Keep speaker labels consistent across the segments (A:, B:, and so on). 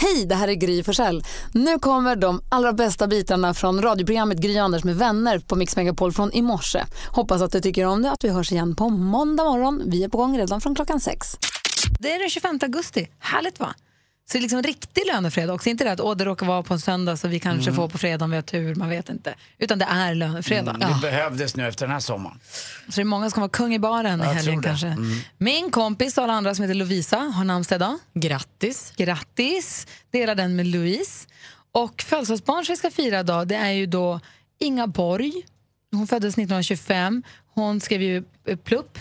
A: Hej, det här är Gry Forssell. Nu kommer de allra bästa bitarna från radioprogrammet Gry Anders med vänner på Mix Megapol från i morse. Hoppas att du tycker om det att vi hörs igen på måndag morgon. Vi är på gång redan från klockan sex.
B: Det är den 25 augusti. Härligt va? Så det är liksom riktig lönefredag också. Inte det att åh, det råkar vara på en söndag så vi
C: Mm.
B: kanske får på fredag om vi har tur, man vet inte. Utan det är lönefredag.
C: Mm, Det behövdes nu efter den här sommaren.
B: Så det är många som kommer vara kung i baren i
C: Jag
B: helgen
C: tror det. Mm.
B: kanske. Min kompis och alla andra som heter Lovisa har namnsdag idag.
D: Grattis.
B: Grattis! Dela den med Louise. Och födelsedagsbarn som vi ska fira idag det är ju då Inga Borg. Hon föddes 1925. Hon skrev ju eh, Plupp,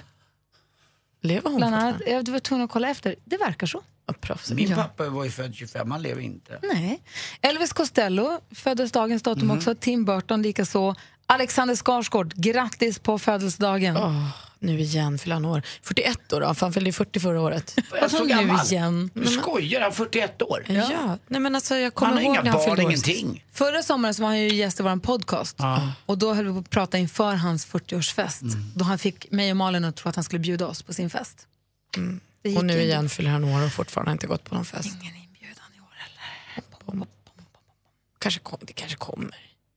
D: Lever hon
B: bland annat.
D: fortfarande?
B: Jag var tvungen att kolla efter. Det verkar så.
D: Ja, proffs.
C: Min
D: Ja.
C: pappa var ju född 25, han lever inte.
B: Nej. Elvis Costello föddes dagens datum
D: Mhm.
B: också. Tim Burton likaså. Alexander Skarsgård, grattis på födelsedagen.
D: Åh, nu igen fyller han år. 41 år då, för han fyllde ju 40 förra året.
C: Jag
B: så nu igen?
C: Du skojar, han är 41 år.
D: Ja. nej men alltså jag
C: Han
D: kommer
C: har
D: ihåg
C: inga
D: när han
C: barn,
D: fyllde år.
C: ingenting.
B: Förra sommaren så var han ju gäst i vår podcast. Och Då höll vi på att prata inför hans 40-årsfest.
C: Mm.
B: Då han fick mig och Malin att tro att han skulle bjuda oss på sin fest.
D: Mm.
B: Det gick
D: Och nu
B: inte.
D: igen fyller han år och fortfarande inte gått på någon fest.
B: Ingen inbjudan i år heller.
D: Kanske kom, det kanske kommer.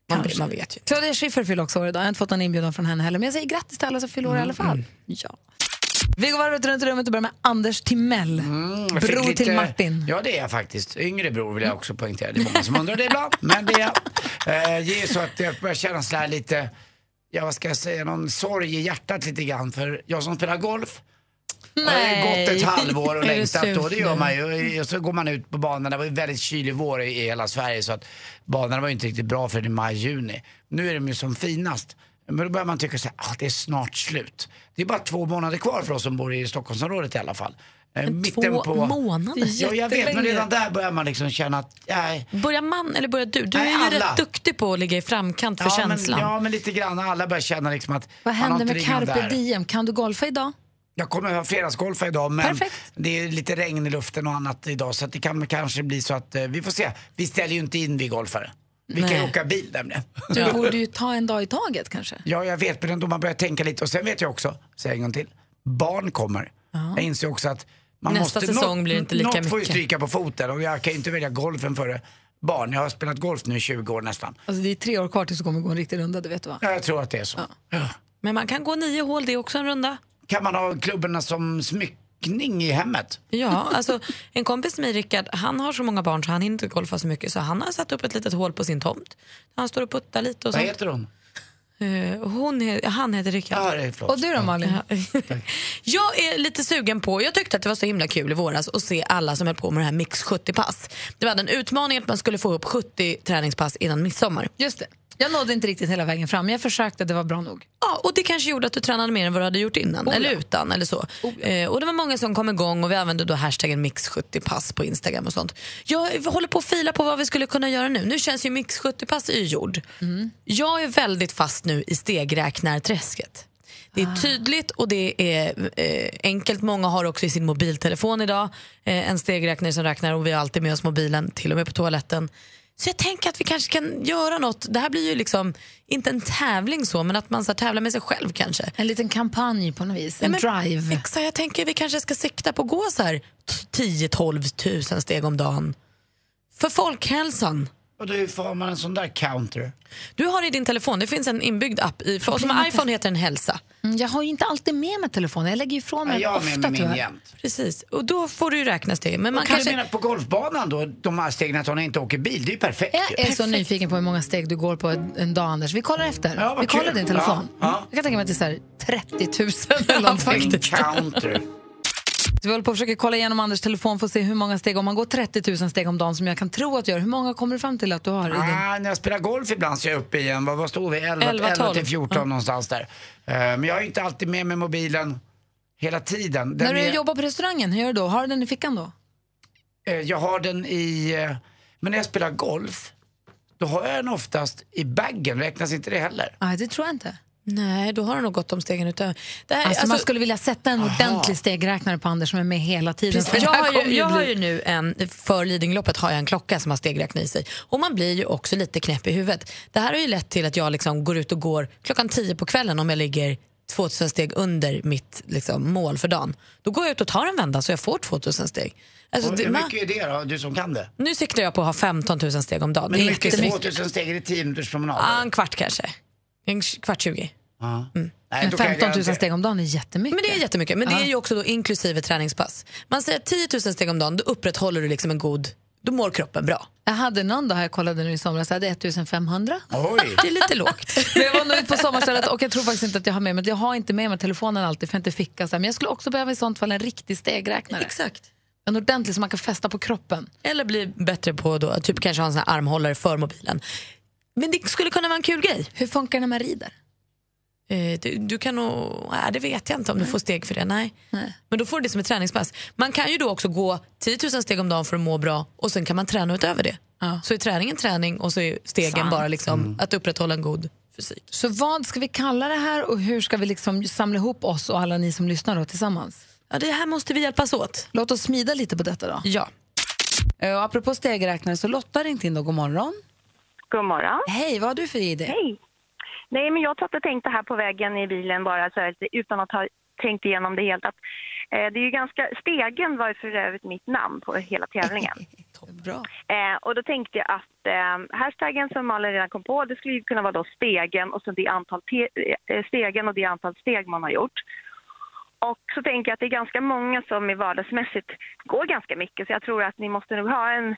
D: Man,
B: Kanske.
D: man vet ju inte.
B: Claudia Schiffer fyller också år idag. Jag har inte fått någon inbjudan från henne heller. Men jag säger grattis till alla som fyller år i alla
C: Mm.
B: fall.
D: Mm.
B: Ja. Vi går varvet runt i rummet och börjar med Anders Timell.
C: Mm, Jag fick
B: Bror till Martin.
C: Ja, det är jag faktiskt. Yngre bror vill jag också poängtera. Det är många som undrar det ibland, men det är jag. Eh, Det är ju så att jag börjar känna så här lite, ja vad ska jag säga, någon sorg i hjärtat lite grann. För jag som spelar golf, Det har ju gått ett halvår och
D: Är du
C: längtat och det
D: sur
C: gör
D: nu?
C: man ju. Och så går man ut på banan. Det var ju väldigt kylig vår i i hela Sverige så att banan var ju inte riktigt bra för i maj-juni. Nu är de ju som finast. Men då börjar man tycka så här, ah, det är snart slut. Det är bara två månader kvar för oss som bor i Stockholmsområdet i alla fall. Eh,
D: Två månader?
C: Ja, jag vet, men redan där börjar man liksom känna att, nej.
D: Börjar man eller börjar du? Du
C: Nej,
D: är ju
C: alla.
D: rätt duktig på att ligga i framkant för
C: ja, men,
D: känslan.
C: ja, men lite grann. Alla börjar känna liksom att
B: Vad
C: man har
B: händer
C: inte
B: med
C: ryggen
B: Carpe
C: där.
B: Diem? Kan du golfa idag?
C: Jag kommer att ha fredagsgolfa idag men
B: Perfekt.
C: det är lite regn i luften och annat idag så att det kan kanske bli så att eh, vi får se. Vi ställer ju inte in vi golfare. Vi kan ju
D: Nej.
C: åka bil nämligen.
B: Du borde ju ta en dag i taget kanske.
C: Ja jag vet men ändå man börjar tänka lite och sen vet jag också, säger jag en gång till, barn kommer. Jag inser också att man
D: Nästa
C: måste,
D: säsong
C: något-
D: blir det inte lika
C: Något får ju
D: mycket.
C: stryka på foten och jag kan ju inte välja golfen före barn. Jag har spelat golf nu i 20 år nästan.
B: Alltså, det är tre år kvar tills du kommer gå en riktig runda, det vet du va?
C: Ja, Jag tror att det är så. Ja.
D: Men man kan gå nio hål, det är också en runda.
C: Kan man ha klubborna som smyckning i hemmet?
D: Ja, alltså en kompis till mig, Rickard, han har så många barn så han hinner inte golfa så mycket så han har satt upp ett litet hål på sin tomt. Han står och puttar lite och
C: Vad
D: sånt.
C: heter hon?
D: Eh, Hon, he- han heter Rickard.
C: Ja, det är förlåt.
B: Och du då Malin?
D: Ja. Jag är lite sugen på, jag tyckte att det var så himla kul i våras att se alla som höll på med det här Mix 70-pass. Det var en utmaning att man skulle få upp 70 träningspass innan midsommar.
B: Just det. Jag nådde inte riktigt hela vägen fram, men jag försökte, det var bra nog.
D: Ja, och det kanske gjorde att du tränade mer än vad du hade gjort innan, eller utan eller så. Eh, och det var många som kom igång och vi använde då hashtaggen mix70pass på Instagram och sånt. Jag håller på att fila på vad vi skulle kunna göra nu. Nu känns ju mix70pass är ju gjord. Jag är väldigt fast nu i stegräknarträsket. Det är tydligt och det är eh, enkelt. Många har också i sin mobiltelefon idag eh, en stegräknare som räknar och vi har alltid med oss mobilen, till och med på toaletten. Så jag tänker att vi kanske kan göra något. Det här blir ju liksom inte en tävling så, men att man så här, tävlar med sig själv kanske.
B: En liten kampanj på något vis, en
D: Nej, men-
B: drive.
D: Exakt, jag tänker vi kanske ska sikta på att gå så här 10-12 tusen steg om dagen. För folkhälsan.
C: Och då får man en sån där counter.
D: Du har i din telefon, det finns en inbyggd app i, för oss som har iPhone heter den hälsa.
B: Mm, jag har ju inte alltid med mig telefonen, jag lägger ju ifrån
C: Ja,
B: mig
C: jag
B: den
C: har med
B: ofta
C: mig min
B: tyvärr.
C: jämt.
D: Precis, och då får du ju räkna steg. Men man
C: Kan du
D: kanske...
C: mena på golfbanan då, de här stegen att hon inte åker bil, det är ju perfekt
B: Jag är
C: ju.
B: så nyfiken på hur många steg du går på en en dag Anders. Vi kollar efter.
C: Ja, vad
B: Vi kollar
C: kul.
B: din telefon.
C: Ja, ja.
B: Jag kan tänka mig att det är så här 30 000 eller någonting.
C: En counter.
B: Så vi håller på att försöka kolla igenom Anders telefon för att se hur många steg, om man går 30 000 steg om dagen som jag kan tro att du gör, hur många kommer du fram till att du har i din?
C: Ah, när jag spelar golf ibland så är jag uppe i en, vad, vad står vi, 11,
D: 11,
C: 11 till 14
D: ja.
C: någonstans där. Eh, men jag är ju inte alltid med mig mobilen hela tiden. Den
B: När du
C: är,
B: jobbar på restaurangen, hur gör du då? Har du den i fickan då?
C: eh, jag har den i, eh, men när jag spelar golf, då har jag den oftast i baggen, räknas inte det heller?
B: Nej, det tror jag inte.
D: Nej, då har han nog gått om stegen utöver. Det här,
B: Alltså, man skulle vilja sätta en ordentlig stegräknare på Anders som är med hela tiden.
D: Precis,
B: För det
D: jag,
B: här
D: har
B: kommer
D: ju, jag
B: bli-
D: har ju nu en, för Lidingöloppet har jag en klocka som har stegräknare i sig. Och man blir ju också lite knäpp i huvudet. Det här har ju lett till att jag liksom går ut och går klockan 10 på kvällen om jag ligger 2000 steg under mitt liksom, mål för dagen. Då går jag ut och tar en vända så jag får 2000 steg. Alltså,
C: Och
D: det,
C: hur
D: man,
C: mycket är det då, du som kan det?
D: nu siktar jag på att ha 15 000 steg om dagen.
C: Men
D: Det
C: hur
D: är
C: mycket
D: inte
C: är
D: så mycket.
C: 2000 steg? Är det 10 minuters promenad?
D: Ja, en kvart kanske. En kvart 20.
C: Ja. Nej,
B: Men
C: då kan jag
B: 15 000
C: garantera-
B: steg om dagen är jättemycket.
D: Men det är jättemycket. Men det är ju också då inklusive träningspass. Man säger att 10 000 steg om dagen, då upprätthåller du liksom en god... Då mår kroppen bra.
B: Jag hade någon dag här jag kollade nu i somras, jag hade 1500.
C: Oj!
D: Det är lite lågt.
B: Men jag var nog ute på sommarstället och jag tror faktiskt inte att jag har med mig, jag har inte med mig telefonen alltid för jag har inte ficka. så här. Men jag skulle också behöva i sånt fall en riktig stegräknare.
D: Exakt.
B: En ordentlig som man kan fästa på kroppen.
D: Eller bli bättre på då, att typ kanske ha en sån här armhållare för mobilen. Men det skulle kunna vara en kul grej.
B: Hur funkar det när man rider?
D: Eh, Du, du kan nog, nej, det vet jag inte om du får steg för det. Nej.
B: Nej.
D: Men då får du det som ett träningspass. Man kan ju då också gå 10 000 steg om dagen för att må bra och sen kan man träna utöver det.
B: Ja.
D: Så är träningen träning och så är stegen
B: Sant.
D: bara liksom
C: Mm.
D: att upprätthålla en god fysik.
B: Så vad ska vi kalla det här och hur ska vi liksom samla ihop oss och alla ni som lyssnar då tillsammans?
D: Ja, det här måste vi hjälpas åt.
B: Låt oss smida lite på detta då.
D: Ja.
B: Eh, Och apropå stegräknare så Lotta har ringt in då, god morgon.
E: God morgon.
B: Hej, vad har du för idé?
E: Hej. Nej, men jag satt och tänkte här på vägen i bilen bara så här, lite utan att ha tänkt igenom det helt. Att, eh, det är ju ganska, stegen var ju för övrigt mitt namn på hela tävlingen.
B: Bra.
E: Eh, och då tänkte jag att eh, hashtaggen som Malin redan kom på, det skulle ju kunna vara då stegen och så det antal te- eh, stegen och det antal steg man har gjort. Och så tänker jag att det är ganska många som i vardagsmässigt går ganska mycket så jag tror att ni måste nog ha en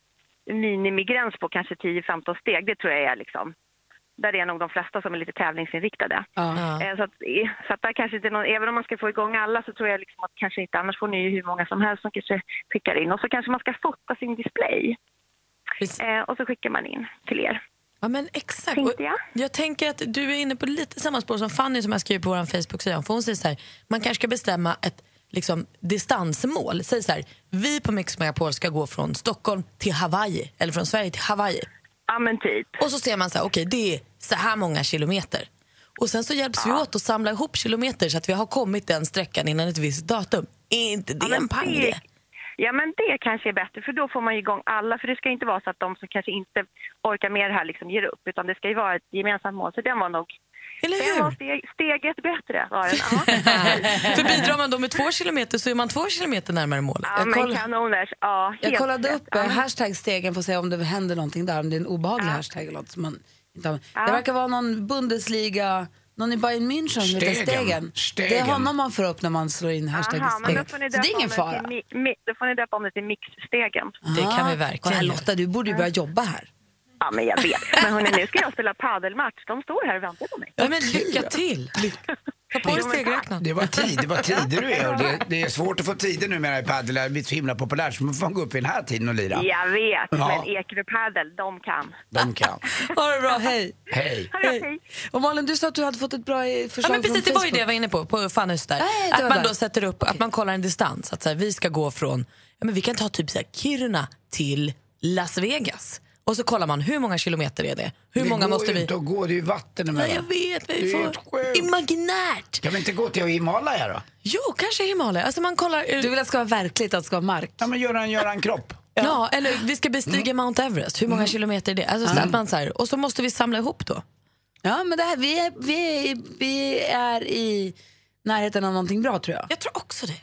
E: minimigräns på kanske 10-15 steg, det tror jag är liksom. Där är nog de flesta som är lite tävlingsinriktade. Eh, Så, att, eh, så att där kanske inte någon, även om man ska få igång alla så tror jag liksom att kanske inte, annars får ni ju hur många som helst som kanske skickar in. Och så kanske man ska fota sin display.
D: Precis.
E: Eh, och så skickar man in till er.
D: Ja, men exakt.
E: Tänkte
D: Och
E: jag.
D: jag tänker att du är inne på lite samma spår som Fanny som jag skriver på vår Facebook-sida. För hon säger så här, man kanske ska bestämma ett liksom, distansmål. Säg så här, vi på Mix Megapol ska gå från Stockholm till Hawaii, eller från Sverige till Hawaii.
E: Ja, men typ.
D: Och så ser man så här, okej det är så här många kilometer. Och sen så hjälps vi åt att samla ihop kilometer så att vi har kommit den sträckan innan ett visst datum. Är inte det
E: Ja, men
D: en pang
E: det-
D: idé?
E: Ja, men det kanske är bättre, för då får man ju igång alla. För det ska inte vara så att de som kanske inte orkar med det här liksom ger upp, utan det ska ju vara ett gemensamt mål. Så den var nog...
D: Eller
E: Den
D: hur?
E: var steg, steget bättre, var den. Ja,
D: För bidrar man då med två kilometer så är man två kilometer närmare målet.
E: ja
D: Jag
E: men
D: kollar-
E: kanoners. Ja, helt
A: Jag kollade
E: rätt.
A: upp eh, hashtag-stegen för att se om det händer någonting där, om det är en obehaglig hashtag eller något som man inte har. Det verkar vara någon Bundesliga, någon i Bayern München med
C: Stegen.
A: stegen.
C: Stegen.
A: Det är honom man får upp när man slår in
E: Aha, men då
A: hashtag-stegen.
E: får ni
A: Så det
E: döpa
A: är ingen
E: om den
A: fara.
E: till mi- mi- Då får ni döpa om det till mixstegen.
D: Det kan vi
A: Ah,
D: verkligen
A: kolla här,
D: göra.
A: Lotta, du borde ju börja jobba här.
E: Ja, men jag vet. Men hörni, nu ska jag spela padelmatch. De står här och väntar på mig.
D: Ja, men lycka till! Ta på dig stegräknaren.
C: Det var tid, det var tider du är. Och det, det är svårt att få tider numera i padel. Det har blivit så himla populärt så man får fan gå upp i den här tiden och lira.
E: Jag vet,
C: Ja.
E: men Ekerö Padel, de kan.
C: De kan.
A: Ha det bra, hej.
C: Hej.
E: Ha det bra, hej.
A: Och Malin, du sa att du hade fått ett bra eh,
D: Ja,
A: förslag
D: men precis, det
A: från
D: var ju
A: Facebook.
D: det jag var inne på, på Fannys där.
A: Nej, det
D: att
A: var
D: man
A: där.
D: då sätter upp, att man kollar en distans. Att så här, vi ska gå från, ja, men vi kan ta typ så här, Kiruna till Las Vegas. Och så kollar man hur många kilometer är det? Hur många
C: det går
D: måste
C: ju
D: vi...
C: inte att gå, det är ju vatten
D: Nej, jag
C: emellan.
D: vet, men
C: Det är
D: vi
C: helt
D: får...
C: sjukt.
D: Imaginärt!
C: Kan vi inte gå till Himalaya då?
D: Jo, kanske Himalaya. Alltså man kollar...
A: Du vill att det ska vara verkligt, att det ska vara mark.
C: Ja men göra en, göra en kropp.
D: ja. eller vi ska
C: Mm.
D: bestiga Mount Everest. Hur många kilometer är det? Alltså, så att man, så här, och så måste vi samla ihop då.
A: Ja, men det här, vi, är, vi, är, vi är i närheten av någonting bra tror jag.
D: Jag tror också det.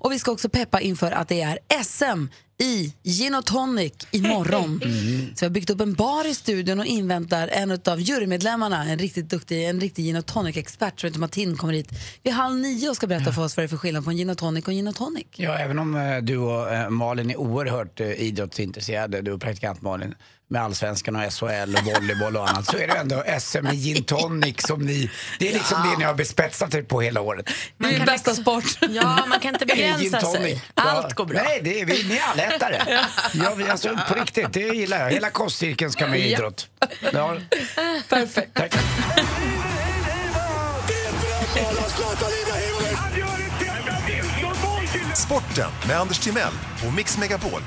A: Och vi ska också peppa inför att det är SM i gin och tonic imorgon.
D: Mm.
A: Så vi har byggt upp en bar i studion och inväntar en av jurymedlemmarna, en riktigt duktig, en riktig gin och tonic-expert som heter Martin kommer hit vid halv nio och ska berätta för oss vad det är för skillnad på en gin och tonic och en gin och tonic.
C: Ja, även om eh, du och eh, Malin är oerhört eh, idrottsintresserade, du och praktikant Malin, med allsvenskan och SHL och volleyboll och annat, så är det ändå SM i gin tonic som ni, det är liksom det ni har bespetsat er på hela året.
A: Det är ju bästa sport.
D: Ja, man kan inte
C: Gin
D: begränsa
C: tonic.
D: sig.
C: Ja.
D: Allt går bra.
C: Nej, det är, vi, ni är allätare. ja, vi, alltså, på riktigt, det gillar jag. Hela kostcirkeln ska med i idrott. Ja. Perfekt. Tack.
F: Sporten med Anders Timell och Mix Megapol.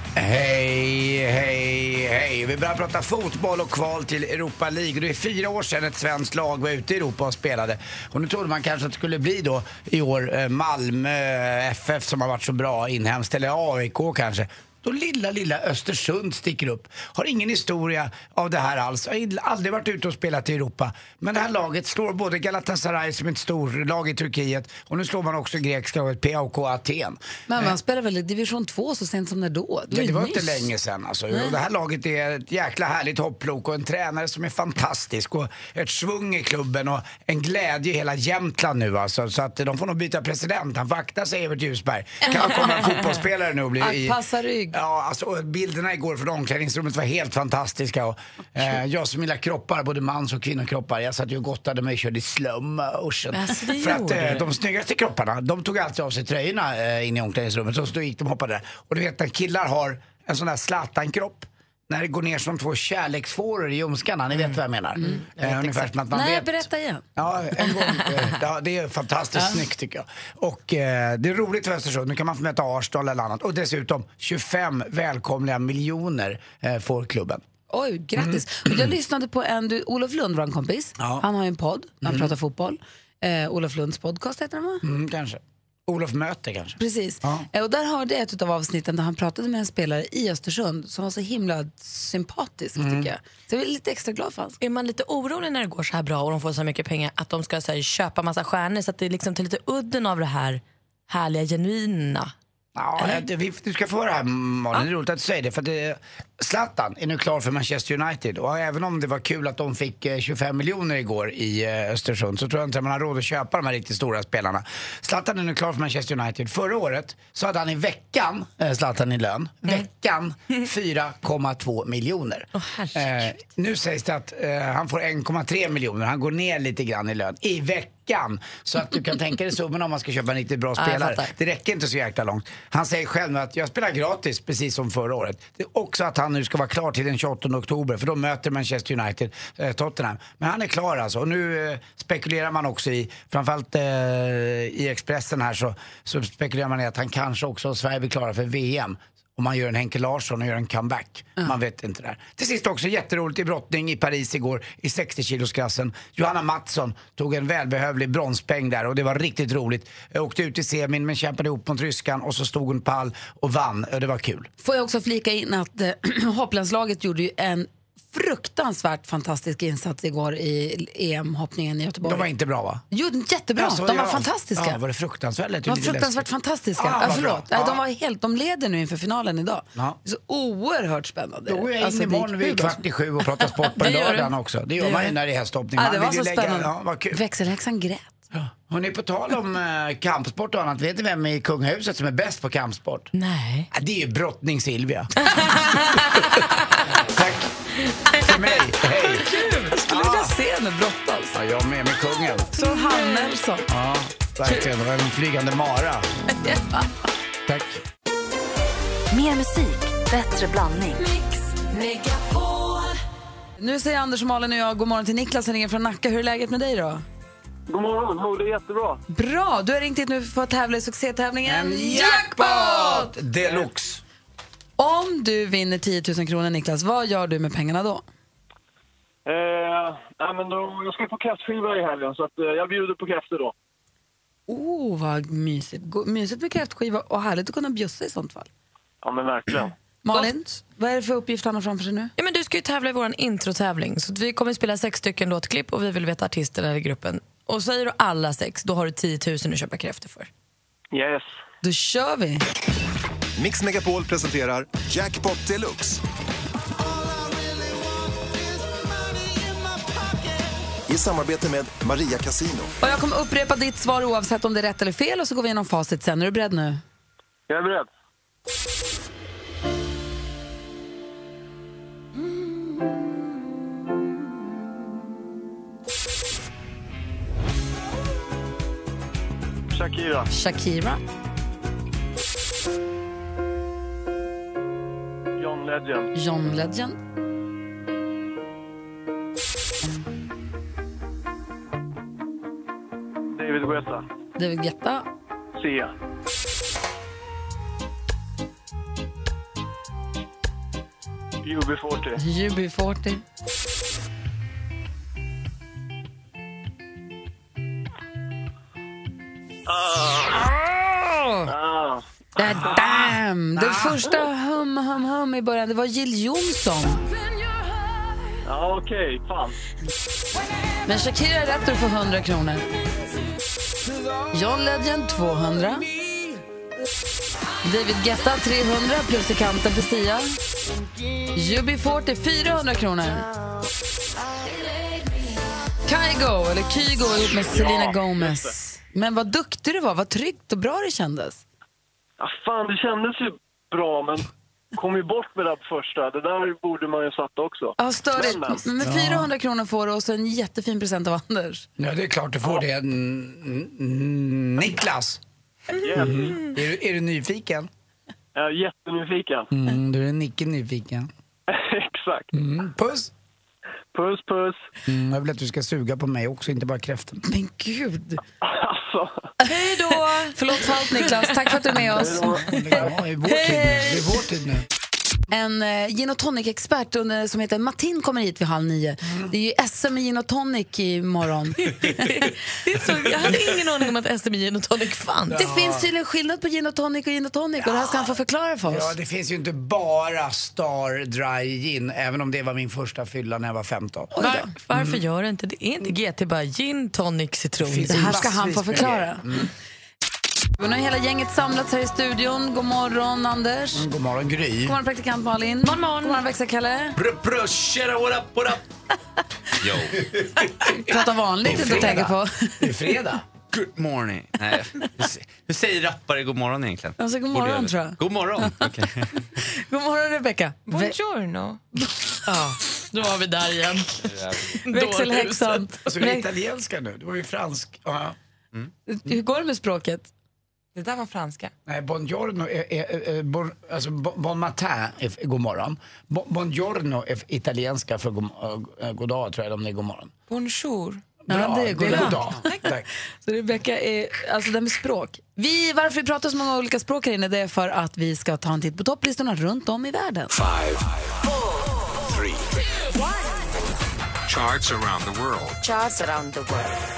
C: Hej, hej, hej. Vi börjar prata fotboll och kval till Europa League. Det är fyra år sedan ett svenskt lag var ute i Europa och spelade. Och nu trodde man kanske att det skulle bli då i år eh, Malmö FF som har varit så bra inhemskt, eller AIK kanske. Då lilla, lilla Östersund sticker upp. Har ingen historia av det här alls. Har ill- aldrig varit ute och spelat i Europa. Men det här laget slår både Galatasaray som är ett stort lag i Turkiet och nu slår man också grekiska laget PAOK Aten. Eh,
B: Men man spelar väl i division 2 så sent som när då?
C: Ja,
B: ju
C: det var inte
B: nyss.
C: länge sedan alltså. Och Det här laget är ett jäkla härligt hopplok och en tränare som är fantastisk och ett svung i klubben och en glädje i hela Jämtland nu alltså. Så att de får nog byta president. Han får akta sig Evert Ljusberg. Kan komma en fotbollsspelare nu och bli... i-
B: Anpassa rygg.
C: Ja, alltså och bilderna igår från omklädningsrummet var helt fantastiska. Och, eh, jag som gillar kroppar, både mans och kvinnokroppar, jag satt ju och gottade mig och körde i slow motion.
D: Alltså, det
C: För att
D: gjorde
C: eh,
D: du.
C: de snyggaste kropparna, de tog alltid av sig tröjorna eh, in i omklädningsrummet. Så, så gick de och hoppade där. Och du vet när killar har en sån där Zlatan-kropp, när det går ner som två kärleksfåror i ljumskarna, ni vet vad jag menar. Eh, ungefär som att man
B: Mm. Nej,
C: vet.
B: berätta igen.
C: Ja, en gång. eh, Ja, det är fantastiskt snyggt tycker jag. Och eh, det är roligt för Östersund. Nu kan man få möta Arsenal eller annat. Och dessutom 25 välkomliga miljoner eh, får klubben.
B: Oj, grattis. Och Jag lyssnade på en, du, Olof Lund, vår kompis.
C: Mm. Ja.
B: Han har ju en podd, han pratar fotboll. Eh, Olof Lunds podcast heter den va?
C: Mm, kanske. Olof möter kanske.
B: Precis. Eh, Och där hörde jag ett av avsnitten där han pratade med en spelare i Östersund som var så himla sympatisk
C: Mm.
B: tycker jag. Så jag är lite extra glad för hans
D: Är man lite orolig när det går så här bra och de får så här mycket pengar att de ska så här, köpa massa stjärnor så att det liksom tar lite udden av det här härliga, genuina?
C: Ja, det- vi, du ska få höra det här Malin, det är roligt att du säger det. För att, eh, Zlatan är nu klar för Manchester United och även om det var kul att de fick eh, 25 miljoner igår i eh, Östersund så tror jag inte att man har råd att köpa de här riktigt stora spelarna. Zlatan är nu klar för Manchester United. Förra året så hade han i veckan, eh, Zlatan i lön,
D: Mm.
C: veckan 4,2 miljoner. eh, nu sägs det att eh, han får 1,3 miljoner, han går ner lite grann i lön i veckan. Så att du kan tänka dig summan om man ska köpa en riktigt bra
D: jag
C: spelare.
D: fattar.
C: Det räcker inte så jäkla långt. Han säger själv nu att jag spelar gratis, precis som förra året. Det är också att han nu ska vara klar till den 28 oktober, för då möter Manchester United eh, Tottenham. Men han är klar alltså. Och nu eh, spekulerar man också i, framförallt eh, i Expressen här, så, så spekulerar man i att han kanske också, om Sverige blir klara för VM, om man gör en Henke Larsson och gör en comeback. Man vet inte det där. Till sist också jätteroligt i brottning i Paris igår i 60-kilosklassen. Johanna Mattsson tog en välbehövlig bronspeng där och det var riktigt roligt. Jag åkte ut i semin men kämpade ihop mot ryskan och så stod hon pall och vann. Och det var kul.
B: Får jag också flika in att eh, hopplandslaget gjorde ju en fruktansvärt fantastisk insats igår i EM-hoppningen i Göteborg.
C: De var inte bra va?
B: Jo, jättebra.
C: Ja, så-
B: de var
C: ja.
B: fantastiska.
C: Ja, var det fruktansvärt? Lät
B: de
C: ju
B: var
C: lite
B: fruktansvärt
C: läskigt.
B: fantastiska.
C: Ah,
B: ja,
C: vad
B: förlåt.
C: bra.
B: Nej,
C: Ja.
B: De, var helt, de leder nu inför finalen idag.
C: Ja.
B: Så oerhört spännande.
C: Då är jag
B: Alltså,
C: inne
B: det gick
C: imorgon
B: hur bra som-
C: vid kvart i sju och pratar sport på
D: Det gör
C: lördagen
D: du.
C: också. Det
D: Det
C: gör man
D: gör
C: ju
D: du.
C: när det är hästhoppning.
B: Ja,
C: Man
B: det var
C: vill
B: så
C: ju lägga-
B: spännande.
C: Ja, vad kul.
B: Växelhäxan grät.
C: Hon är på tal om eh, kampsport och annat. Vet ni vem i kungahuset som är bäst på kampsport?
D: Nej.
C: Ja, Det är ju brottning Silvia. Tack för mig. Hej.
B: Jag skulle vilja se henne alltså. brottas.
C: Ja, jag med, med kungen.
B: Så Hannelsson.
C: Ja, verkligen. Det var en flygande mara. Tack.
G: Mer musik, bättre blandning.
B: Nu säger Anders och Malin och jag god morgon till Niklas som ringer från Nacka. Hur är läget med dig då?
H: God morgon, jo, det är jättebra.
B: Bra! Du har ringt hit nu för att tävla i succétävlingen
C: Jackpot deluxe.
B: Om du vinner 10 000 kronor, Niklas, vad gör du med pengarna då?
H: Eh, ja, men då, jag ska på kräftskiva i helgen, så att, eh, jag bjuder på kräftor då.
B: Oh, vad mysigt. Go- Mysigt med kräftskiva och härligt att kunna bjussa i sånt fall.
H: Ja, men verkligen.
B: Malin, vad är det för uppgift han har framför sig nu?
D: Ja, men du ska ju tävla i vår introtävling. Så att vi kommer spela sex stycken låtklipp och vi vill veta artisten eller gruppen. Och säger du alla sex, då har du 10 000 att köpa kräftor för.
H: Yes.
B: Då kör vi!
F: Mix Megapol presenterar Jackpot Deluxe. I samarbete med Maria Casino.
B: Och jag kommer upprepa ditt svar oavsett om det är rätt eller fel och så går vi igenom facit sen. Är du beredd nu?
H: Jag är beredd. Shakira,
B: Shakira,
H: John Legend,
B: John Legend,
H: David Guetta,
B: David Guetta,
H: Sia,
I: UB40.
B: UB40.
I: Ah.
B: Där, damn! Det första hum, hum, hum i början, det var Jill Johnson.
I: Ja, okej. Fan.
B: Men Shakira är rätt och du får 100 kronor. John Legend 200. David Guetta 300 plus i kanten för Sia. UB40 400 kronor. Kygo, eller Kygo ihop med Selena Gomez. Men vad duktig du var, vad tryggt och bra det kändes.
I: Ja, fan, det kändes ju bra, men kom ju bort med det där första. Det där borde man ju ha satt också.
B: Ja, störigt.
I: Men, men.
B: Men 400 kronor får du och så en jättefin present av Anders.
C: Ja, det är klart du får det. N- n- Niklas! Mhm.
I: Yes.
C: Är, du, är du nyfiken?
I: Jag är jättenyfiken.
C: Mm, du är Nicke nyfiken.
I: Exakt.
C: Mm, puss!
I: Puss, puss.
C: Mm, jag vill att du ska suga på mig också, inte bara kräften.
B: Men gud.
I: Alltså,
D: Hej då!
B: Förlåt för allt Niklas, tack för att du är med oss.
C: Ja, det är vår tid nu. Det är vår tid nu.
B: En eh, gin och tonic-expert under- som heter Martin kommer hit vid halv nio. Det är ju SM i gin och tonic imorgon.
D: Det är så, jag hade ingen aning om att SMI gin och tonic fanns.
B: Det finns tydligen skillnad på gin och tonic och gin och tonic och det här ska han få förklara för
C: Ja,
B: oss.
C: det finns ju inte bara Star Dry Gin, även om det var min första fylla när jag var Mm. 15.
D: Var, varför gör det inte det? Är inte GT bara gin, tonic, citron?
C: Finns
B: Mm. Det här ska han
C: massvis
B: få
C: med
B: förklara.
C: Mm.
B: Och nu är hela gänget samlats här i studion. God morgon Anders. God
C: God morgon Gry.
B: morgon praktikant Malin. God morgon, God morgon växelkalle. Prata vanligt inte tänker på.
C: Det är fredag.
J: Good morning. Nej, hur sä- hur säger rappare god morgon egentligen?
B: Alltså, god
J: Borde
B: morgon,
J: jag-
B: tror jag.
J: God morgon. Okej.
B: God morgon Rebecka. Vä-
D: Buongiorno. Ja, då var vi där igen.
B: Växelhäxan.
C: Alltså, är det italienska nu? Det var ju fransk. Ja.
B: Mm. Hur går det med språket?
D: Det där var franska.
C: Nej, buongiorno är, är, är, bon, alltså, bon, bon matin är f- god morgon. Bon, buongiorno är f- italienska för god, äh, god dag tror jag, om det är god morgon.
D: Bonjour.
C: Bra,
B: Ja, det är god dag.
C: Tack. Tack.
B: Så Rebecka är, alltså det här med språk. Vi, varför vi pratar så många olika språk här inne, det är för att vi ska ta en titt på topplistorna runt om i världen.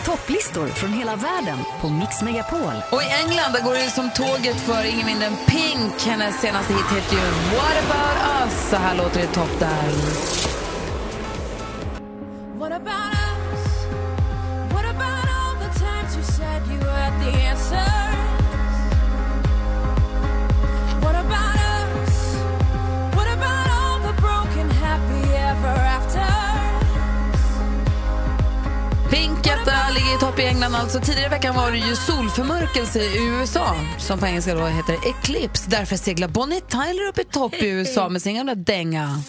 K: Topplistor från hela världen på Mix Megapol.
B: Och i England där går det ju som tåget för ingen mindre än Pink. Hennes senaste hit heter ju What about us? Så här låter det i topp där.
K: What about us? What about all the times you said you had the answers? What about us? What about all the broken happy ever after?
B: Pink detta ligger i topp i England alltså. Tidigare i veckan var det ju solförmörkelse i USA som på engelska då heter Eclipse. Därför seglar Bonnie Tyler upp i topp i USA med sin gamla dänga.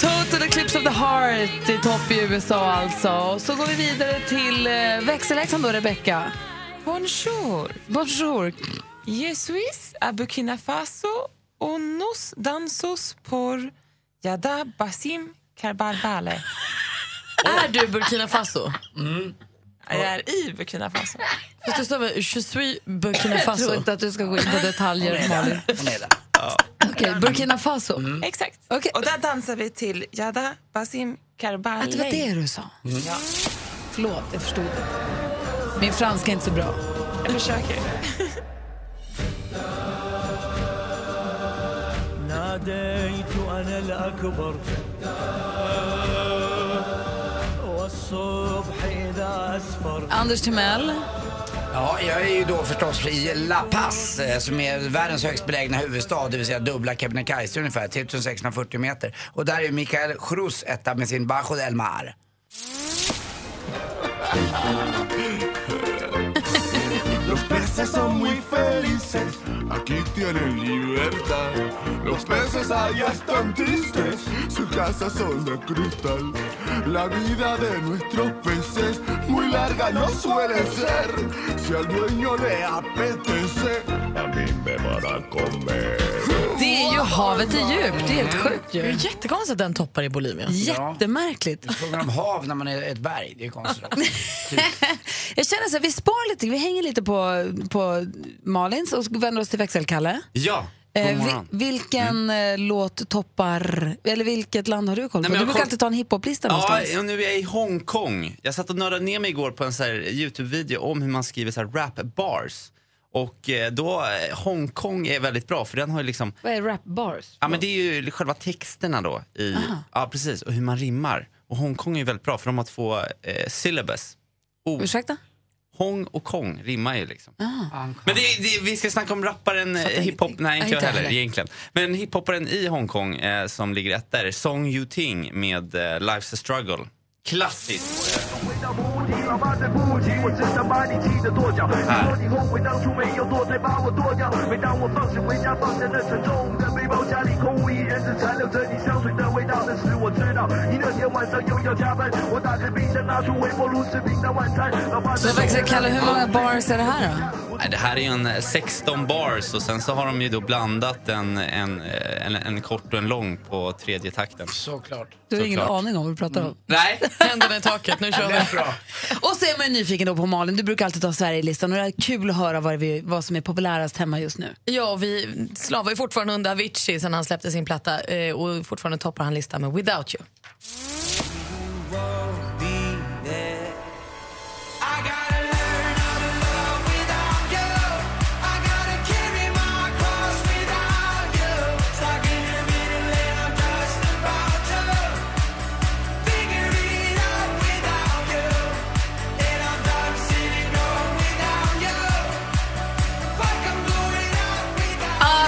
B: Total Eclipse of the Heart i topp i USA alltså. Så går vi vidare till eh, växelhäxan då, Rebecca.
D: Bonjour.
B: Bonjour.
D: Je suis à Burkina Faso och nos dansos por Yada Basim Karbarbale. Är du Burkina Faso? Jag är i Burkina Faso. Fast du sa väl je suis Burkina
B: Jag tror
D: Faso?
B: inte att du ska gå in på detaljer, Malin.
C: Hon är där.
B: Okej, Burkina Faso.
D: Exakt.
B: Okej.
D: Och där dansar vi till Yada Basim Karbale.
B: Att det var det du sa.
D: Ja,
B: Förlåt, jag förstod inte. Min franska är inte så bra.
D: jag försöker.
B: Anders Timell.
C: Ja, jag är ju då förstås i La Paz eh, som är världens högst belägna huvudstad, det vill säga dubbla Kebnekaise ungefär, 3640 meter. Och där är Mikael Cruz etta med sin Bajo del Mar.
F: Som we
L: muy felices. Aquí tienen libertad. Los peces allá están tristes. Su casa son de cristal. La vida de nuestros peces muy larga no suele ser. Si al dueño le apetece, a mí me van a comer.
D: Det är ju havet i djup. Det är helt sjukt ju.
C: Det är
D: jättekonstigt att den toppar i Bolivia. Jättemärkligt.
C: Frågan om hav när man är ett berg, det är konstigt.
B: Jag känner så här, vi spar lite, vi hänger lite på, på Malins och vänder oss till växelkalle.
J: Ja, god
B: Eh, vi,
J: morgon. Mm.
B: vilken eh, låt toppar, eller vilket land har du koll
J: Nej,
B: på?
J: men
B: du
J: jag
B: brukar
J: kom-
B: alltid ta en hiphoplista
J: Ja,
B: någonstans.
J: ja, nu är jag i Hongkong. Jag satt och nördade ner mig igår på en så här Youtube-video om hur man skriver så här rap bars. Och eh, då, eh, Hongkong är väldigt bra för den har ju liksom,
B: Vad är rap bars?
J: ja men det är ju själva texterna då. I, ja precis, och hur man rimmar. Och Hongkong är ju väldigt bra för de har två eh, syllabus. Oh.
B: Ursäkta?
J: Hong och kong rimmar ju liksom. Men det, det, vi ska snacka om rapparen, eh, hiphop, nej inte
C: Inte
J: jag heller
C: heller.
J: egentligen. Men hiphopparen i Hongkong eh, som ligger etta är Song Yu-Ting med eh, Life's a struggle. Klassiskt.
B: Så växelkalle, hur många bars är det här då?
J: Nej, Det här är ju en eh, 16 bars och sen så har de ju då blandat en, en, eh, en, en kort och en lång på tredje takten.
C: Såklart.
B: Du har ingen aning om vad du pratar om.
J: Nej.
D: Händerna i taket, nu kör vi.
B: Och så är man ju nyfiken då på Malin, du brukar alltid ta Sverigelistan och det är kul att höra vad, vi, vad som är populärast hemma just nu.
D: Ja, vi slavar ju fortfarande under Avicii sen han släppte sin platta eh, och fortfarande toppar han listan med Without You.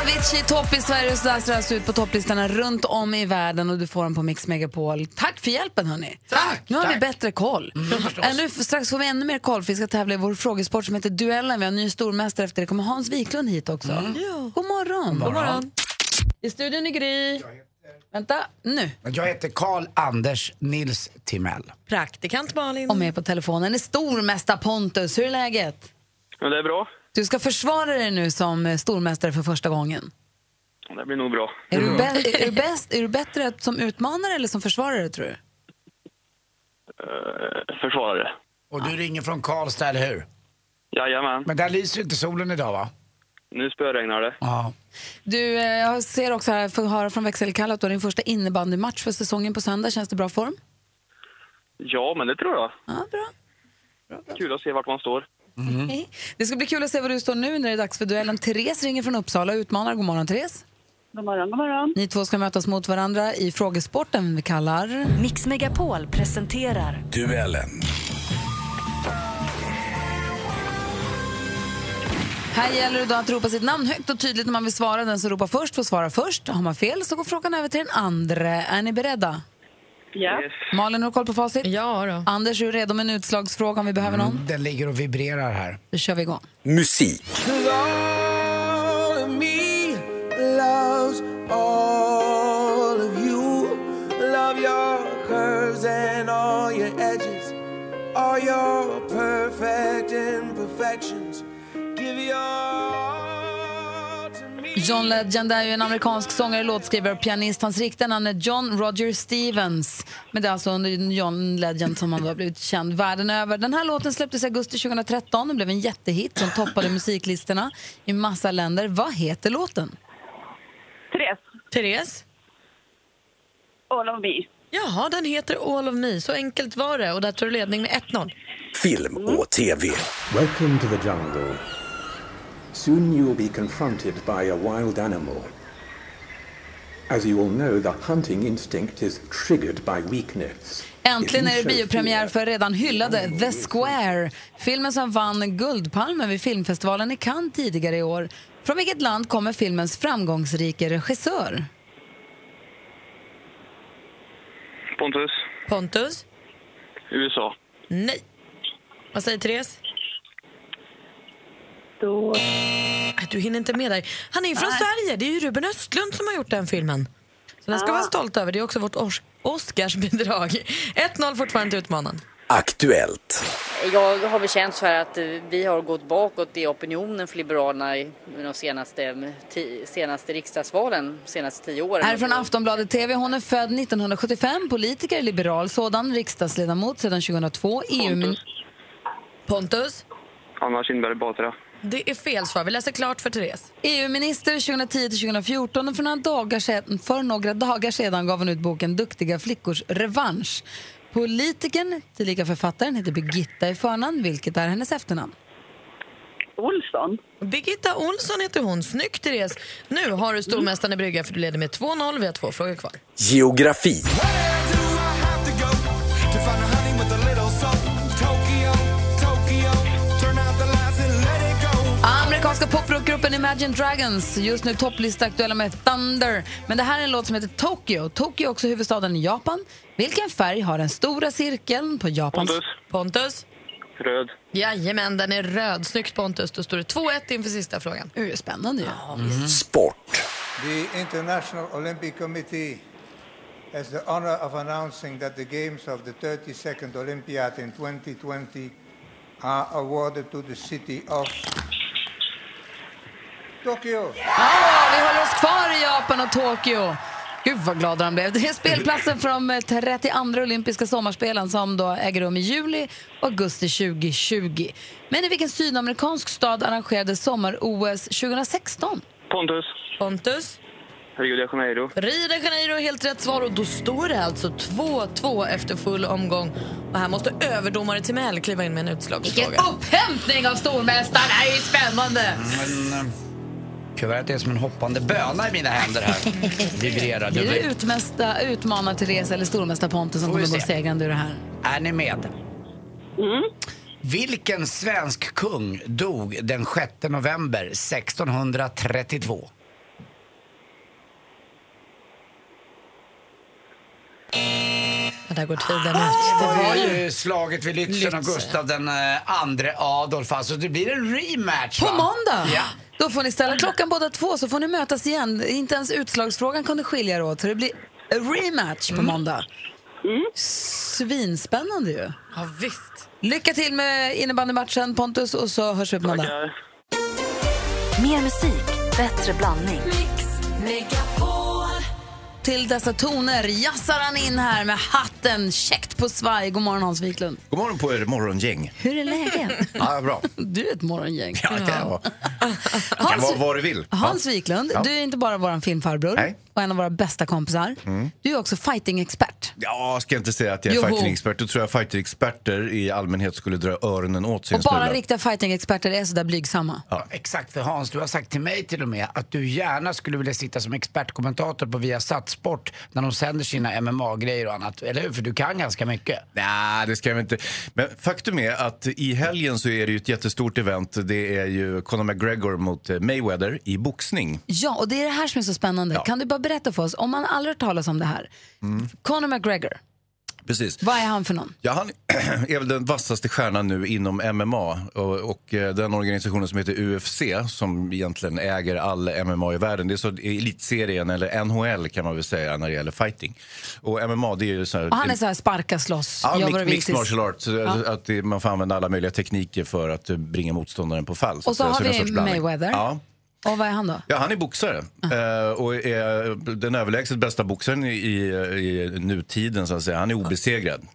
B: Avicii topp i Sverige och så där ser det ut på topplistorna runt om i världen och du får den på Mix Megapol. Tack för hjälpen hörni. Tack! Mm, Nu har vi bättre koll. Ännu, strax får vi ännu mer koll för vi ska tävla i vår frågesport som heter Duellen. Vi har en ny stormästare efter det. kommer Hans Wiklund hit också. Mm. God morgon.
C: God morgon.
B: I studion är Gry. Vänta, nu.
C: Jag heter Karl Anders Nils Timell.
D: Praktikant Malin.
B: Och med på telefonen är stormästare Pontus. Hur är läget?
M: Men det är bra.
B: Du ska försvara dig nu som eh, stormästare för första gången.
M: Det blir nog bra.
B: Är du, bä- är, du bäst, är du bättre som utmanare eller som försvarare tror du?
M: Eh, försvarare.
C: Och du ringer från Karlstad, eller hur?
M: Jajamän.
C: Men där lyser inte solen idag, va?
M: Nu spöregnar det.
C: Ja.
B: Du, eh, jag ser också här, får höra från växelkalle att du har din första innebandymatch för säsongen på söndag. Känns det bra form?
M: Ja, men det tror jag.
B: Ja, bra.
M: Kul att se vart man står.
B: Hej. Det ska bli kul att se var du står nu när det är dags för duellen. Therese ringer från Uppsala och utmanar. God morgon, Therese.
N: God morgon, god morgon.
B: Ni två ska mötas mot varandra i frågesporten vi kallar...
O: Mix Megapol presenterar
P: Duellen.
B: Här gäller det då att ropa sitt namn högt och tydligt när man vill svara. Den som ropar först får svara först. Har man fel så går frågan över till den andra. Är ni beredda?
N: Ja.
B: Malin, har du koll på facit?
D: Ja då.
B: Anders, är du redo med en utslagsfråga om vi behöver någon?
C: Den ligger och vibrerar här.
B: Då kör vi igång.
P: Musik.
L: Lord me loves all of you. Love your curves and all your edges, all your perfect imperfections. Give your
B: John Legend är ju en amerikansk sångare, låtskrivare och pianist. Hans riktiga namn är John Roger Stevens. Men det är alltså under John Legend som han då har blivit känd världen över. Den här låten släpptes i augusti 2013 och blev en jättehit som toppade musiklistorna i massa länder. Vad heter låten?
N: Therese.
D: Therese?
N: All of me.
D: Jaha, den heter All of me. Så enkelt var det. Och där tar du ledning med 1-0.
P: Film och TV.
Q: Welcome to the jungle. Soon you will be confronted by a wild animal. As you all know, the hunting instinct is triggered by weakness.
B: Äntligen är det
Q: If you show
B: biopremiär för redan hyllade The Square. Filmen som vann Guldpalmen vid filmfestivalen i Cannes tidigare i år. Från vilket land kommer filmens framgångsrike regissör?
M: Pontus,
D: Pontus?
M: USA.
D: Nej. Vad säger Therese?
N: Då
D: du hinner inte med där. Han är ju från
B: Nej.
D: Sverige, det är ju Ruben Östlund som har gjort den filmen. Så den ska
B: Ja.
D: vara stolt över, det är också vårt Os- Oscarsbidrag. 1-0 fortfarande till utmanaren.
P: Aktuellt.
R: Jag har väl känt så här att eh, vi har gått bakåt i opinionen för Liberalerna i de senaste, eh, ti, senaste riksdagsvalen, senaste tio åren.
B: Här från Aftonbladet TV. Hon är född 1975, politiker, liberal sådan, riksdagsledamot sedan 2002, EU...
D: Pontus?
M: Anna Kinberg Batra.
D: Det är fel svar, vi läser klart för Therese.
B: EU-minister 2010 till 2014 och för några, dagar sedan, för några dagar sedan gav hon ut boken Duktiga flickors revansch. Politikern, tillika författaren, heter Birgitta i förnamn, vilket är hennes efternamn.
D: Olsson. Birgitta Olsson heter hon. Snyggt Therese. Nu har du stormästaren i brygga för du leder med 2-0. Vi har två frågor kvar.
P: Geografi.
B: Amerikanska poprockgruppen Imagine Dragons, just nu topplista-aktuella med Thunder. Men det här är en låt som heter Tokyo. Tokyo är också huvudstaden i Japan. Vilken färg har den stora cirkeln på Japans...
D: Pontus. Pontus?
M: Röd.
D: Jajamän, den är röd. Snyggt Pontus. Då står det 2-1 inför sista frågan.
B: Det är spännande ju.
P: Sport.
S: The International Olympic Committee has the honor of announcing that the games of the 32nd Olympiad in 2020 are awarded to the city of Tokyo.
B: Ja, vi håller oss kvar i Japan och Tokyo. Gud vad glada de blev. Det är spelplatsen för de 32 olympiska sommarspelen som då äger rum i juli och augusti 2020. Men i vilken sydamerikansk stad arrangerades sommar-OS 2016?
M: Pontus.
D: Pontus?
M: Rio de Janeiro.
D: Rio de Janeiro är helt rätt svar och då står det alltså 2-2 efter full omgång. Och här måste överdomare Timell kliva in med en utslagsfråga.
B: Vilken upphämtning av stormästaren! Det här är ju spännande!
C: Men, eh, Kuvertet är som en hoppande böna i mina händer här. Vibrerar
B: Blir det
C: dubbelt.
B: utmästa, utmanar Therese eller stormästare Pontus som
C: Får vi
B: kommer gå
C: se.
B: segrande ur det här?
C: Är ni med?
B: Mm.
C: Vilken svensk kung dog den 6 november 1632?
D: Ja, där går tiden
C: Det
D: ut.
C: var ju slaget vid Lützen och
D: Lützen.
C: Gustav den eh, andre Adolf. Alltså det blir en rematch
B: På
C: va?
B: måndag!
C: Ja.
B: Då får ni ställa klockan båda två så får ni mötas igen. Inte ens utslagsfrågan kunde skilja er åt så det blir a rematch på måndag. Svinspännande ju.
D: Ja, visst.
B: Lycka till med innebandymatchen Pontus och så hörs vi på måndag.
O: Mer musik, bättre blandning.
B: Till dessa toner jassar han in här med hatten käckt på svaj. God morgon Hans Wiklund.
T: God morgon på er morgongäng.
B: Hur är läget?
T: Ja, bra.
B: Du är ett morgongäng.
T: Ja, det kan jag vara. Det kan vara vad du vill.
B: Hans Wiklund,
T: Ja.
B: du är inte bara vår filmfarbror och en av våra bästa kompisar. Mm. Du är också fighting-expert.
T: Ja, ska jag inte säga att jag är
B: Joho.
T: fighting-expert. Då tror jag fighter-experter i allmänhet skulle dra öronen åt sig
B: Och
T: en
B: bara
T: smula.
B: riktiga fighting-experter är sådär blygsamma.
C: Ja, exakt, för Hans, du har sagt till mig till och med att du gärna skulle vilja sitta som expertkommentator på Viasat Sport när de sänder sina MMA-grejer och annat. Eller hur? För du kan ganska mycket.
T: Nej, det ska jag väl inte. Men faktum är att i helgen så är det ju ett jättestort event. Det är ju Conor McGregor mot eh, Mayweather i boxning.
B: Ja, och det är det här som är så spännande. Kan du bara berätta för oss, om man aldrig har hört talas om det här. Conor McGregor,
T: Precis.
B: vad är han för någon?
T: Ja, han är väl den vassaste stjärnan nu inom MMA och, och eh, den organisationen som heter UFC som egentligen äger all MMA i världen. Det är så elitserien eller NHL kan man väl säga när det gäller fighting. Och MMA det är ju så här...
B: Och han är så här sparka, slåss,
T: Mm. Ja,
B: jobbar
T: mix,
B: och vill
T: mixed
B: tills-
T: martial arts. Så
B: Ja.
T: Att det, man får använda alla möjliga tekniker för att eh, bringa motståndaren på fall.
B: Och så
T: att säga.
B: har
T: det är en
B: vi
T: sorts blandning.
B: Mayweather.
T: Ja.
B: Och vad är han då?
T: Ja, han är boxare Eh, och är den överlägset bästa boxaren i, i, i nutiden. Så att säga. Han är obesegrad.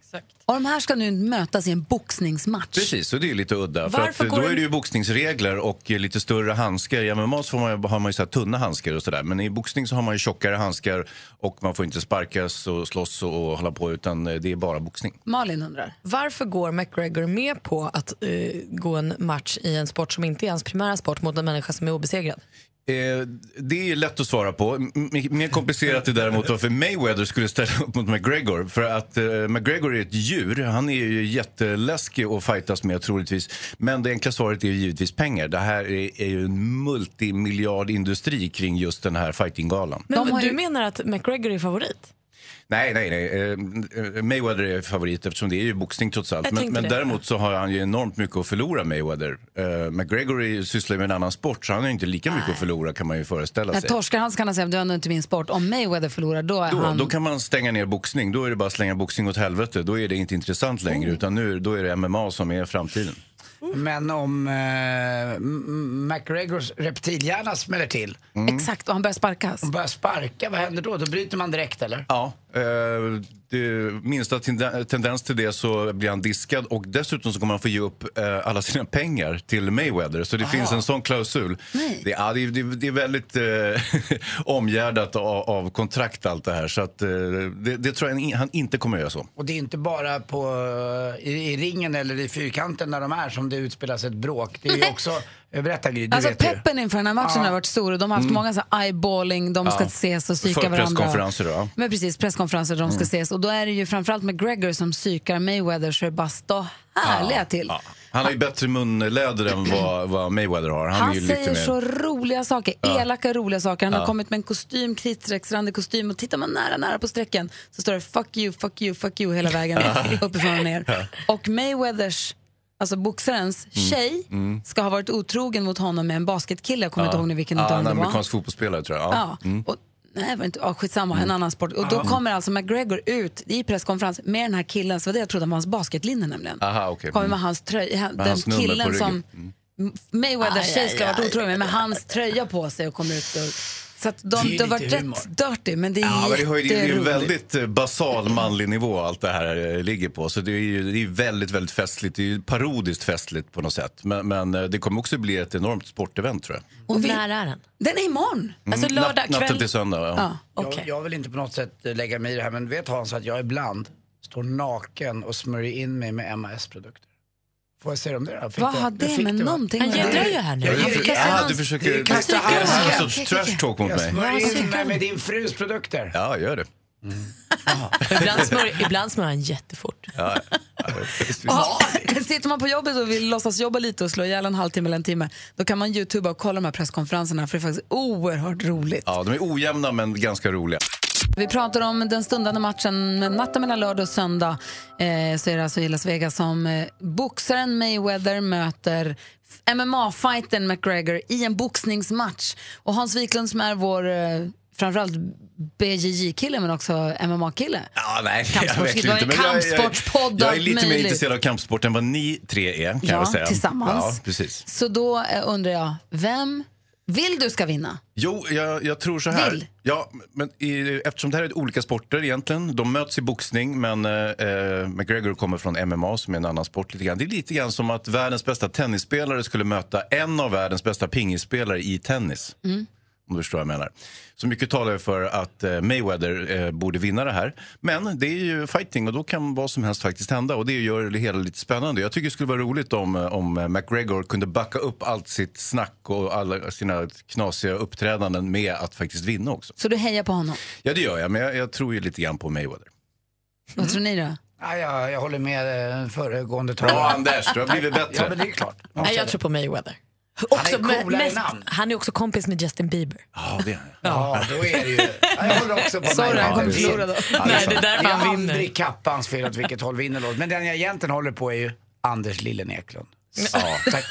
B: Och de här ska nu mötas i en boxningsmatch.
T: Precis, så det är ju lite udda.
B: Varför
T: för att,
B: går
T: då
B: du-
T: är det ju boxningsregler och eh, lite större handskar. I MMA så får man, ju- har man ju så här tunna handskar och sådär. Men i boxning så har man ju tjockare handskar och man får inte sparkas och slåss och hålla på utan eh, det är bara boxning.
B: Malin undrar.
D: Varför går McGregor med på att eh, gå en match i en sport som inte är hans primära sport mot en människa som är obesegrad?
T: Eh, det är lätt att svara på. M- m- mer komplicerat är däremot varför Mayweather skulle ställa upp mot McGregor. För att eh, McGregor är ett djur. Han är ju jätteläskig att fightas med troligtvis. Men det enkla svaret är ju givetvis pengar. Det här är, är ju en multimiljardindustri kring just den här fightinggalan.
D: Men du menar att McGregor är favorit?
T: Nej, nej, nej. Eh, Mayweather är favorit eftersom det är ju boxning trots allt.
U: Jag
T: Men,
U: tänkte
T: men
U: det.
T: däremot så har han ju enormt mycket att förlora, Mayweather. Eh, McGregor är ju- sysslar ju med en annan sport så han har ju inte lika mycket att förlora kan man ju föreställa
B: När
T: sig.
B: torskar han så kan han säga du är ändå inte min sport. Om Mayweather förlorar då är
T: Då,
B: han...
T: då kan man stänga ner boxning. Då är det bara att slänga boxning åt helvete. Då är det inte intressant längre utan nu då är det MMA som är framtiden.
B: Mm.
C: Men om eh, M- M- McGregors reptilhjärna smäller till.
B: Mm. Exakt, och han börjar sparkas.
C: Börjar sparka, vad händer då? Då bryter man direkt eller?
T: Ja, eh, det, minsta tende- tendens till det så blir han diskad och dessutom så kommer han få ge upp eh, alla sina pengar till Mayweather. Så det finns en sån klausul. Det, ja, det, det, det är väldigt eh, omgärdat av, av kontrakt allt det här. Så att, eh, det, det tror jag han inte kommer göra så.
C: Och det är inte bara på, eh, i, i ringen eller i fyrkanten när de är som det utspelas ett bråk. Det är ju också, eh, berätta Gry, du
B: Alltså
C: vet ju.
B: peppen inför den här matchen
C: Ja.
B: har varit stor och de har haft
C: Mm.
B: många så här eyeballing, de ska
T: Ja.
B: ses och psyka
T: För
B: varandra.
T: presskonferenser då, ja.
B: Men precis, presskonferenser där de ska
T: Mm.
B: ses. Och då är det ju framförallt McGregor som psykar Mayweather så det bara står härliga
T: Ja,
B: till.
T: ja. Han har ju bättre munläder än vad, vad Mayweather har. Han, är
B: Han
T: ju lite
B: säger
T: mer...
B: så roliga saker,
T: Ja.
B: elaka roliga saker. Han har
T: Ja.
B: kommit med en kostym, kritstrecksrandig kostym och tittar man nära, nära på strecken så står det fuck you, fuck you, fuck you hela vägen
T: Ja.
B: uppifrån och ner.
T: Ja.
B: Och Mayweathers, alltså boxarens tjej,
T: Mm.
B: ska ha varit otrogen mot honom med en basketkille, jag kommer
T: Ja.
B: inte ihåg nu vilken
T: ja,
B: av dem
T: en
B: det var.
T: amerikansk fotbollsspelare tror jag.
B: Ja.
T: Mm.
B: Nej, var inte, ah, skitsamma, en annan sport. Och då
T: Ja.
B: kommer alltså McGregor ut i presskonferens med den här killen, så var det jag trodde var hans basketlinne nämligen.
T: Aha, okay.
B: Kommer med hans tröja,
T: Med
B: den
T: hans nummer på
B: killen som
T: ryggen. Mm.
B: Mayweathers
D: Aj,
B: tjej
D: aj,
B: ska ha varit
D: aj,
B: otrogen med, med hans tröja på sig och kommer ut och... Så att
T: Det är
B: de,
T: ju
B: det har varit
T: lite humor.
B: rätt dirty, men det är
T: Ja, men det, har ju, det är ju en
B: jätteroligt.
T: väldigt eh, basal manlig nivå allt det här eh, ligger på. Så det är ju det är ju väldigt, väldigt festligt. Det är ju parodiskt festligt på något sätt. Men, men eh, det kommer också bli ett enormt sportevent tror jag.
D: Och när är den?
B: Den är imorgon. Alltså
T: Mm, natt- Natten till söndag, ja.
C: jag, jag vill inte på något sätt eh, lägga mig i det här men vet Hans att jag ibland står naken och smörjer in mig med MAS-produkter. Får jag se om det då? Fick
B: Vad
C: det-
B: har det
C: fick
B: med
C: va?
B: någonting att göra?
C: Jag-
T: Jag-
C: Jag-
T: jag-
C: jag-
T: ah,
C: jag-
T: du försöker...
C: jag- jag- jag-
T: Det är en
C: jag-
T: sorts trash talk mot
C: Jag
T: mig.
C: smörjer in mig med din frus produkter.
T: Ja, gör det.
D: Mm. Ibland smörjer, ibland smörjer han jättefort.
T: Ja.
B: Ja, sitter man på jobbet och vill låtsas jobba lite och slå ihjäl en halvtimme eller en timme, då kan man youtuba och kolla de här presskonferenserna för det är faktiskt oerhört roligt.
T: ja, de är ojämna men ganska roliga.
B: Vi pratar om den stundande matchen men natten mellan lördag och söndag. Eh, så är det alltså i Las Vegas som eh, boxaren Mayweather möter mma fighten McGregor i en boxningsmatch. Och Hans Wiklund som är vår eh, framförallt BJJ-kille men också MMA-kille.
T: Ja, nej,
B: Kampsports-
T: jag vet
B: det var
T: inte.
B: en
T: Men jag-
B: kampsportspodd,
T: Jag, jag,
B: allt
T: är lite mer
B: möjligt.
T: intresserad av kampsport än vad ni tre är, kan
B: Ja,
T: jag väl säga.
B: tillsammans.
T: Ja, precis.
B: Så då eh, undrar jag, vem vill du ska vinna?
T: Jo, jag, jag tror så här.
B: Vill.
T: Ja, men i, eftersom det här är olika sporter egentligen. De möts i boxning, men eh, eh, McGregor kommer från MMA som är en annan sport lite grann. Det är lite grann som att världens bästa tennisspelare skulle möta en av världens bästa pingisspelare i tennis.
K: Mm.
T: Om du förstår vad jag menar. Så mycket talar ju för att eh, Mayweather eh, borde vinna det här. Men det är ju fighting och då kan vad som helst faktiskt hända. Och det gör det hela lite spännande. Jag tycker det skulle vara roligt om, eh, om eh, McGregor kunde backa upp allt sitt snack och alla sina knasiga uppträdanden med att faktiskt vinna också.
B: Så du hejar på honom.
T: Ja, det gör jag. Men jag, jag tror ju lite grann på Mayweather.
B: Vad tror ni då?
C: Ja, jag, jag håller med eh, föregående
T: Bra,
C: talare.
T: Anders, du har blivit bättre.
C: Ja, men det är klart.
D: Nej, jag tror på Mayweather.
C: Han är
D: Också med-
C: coolare
D: mest-
C: namn.
D: han är också kompis med Justin Bieber.
T: Ja, det är
C: Ja, då är det ju... Ja, Jag håller också på
D: Sorry,
C: mig.
D: han kommer
C: Ja, det är
D: förlora
C: sant.
D: då.
C: Ja,
D: Nej,
C: sant.
D: det är därför han
C: Det är
D: vinner.
C: aldrig Kappans fel åt vilket håll vinner låt. Men den jag egentligen håller på är ju Anders Lillen Eklund.
T: Ja.
C: Tack.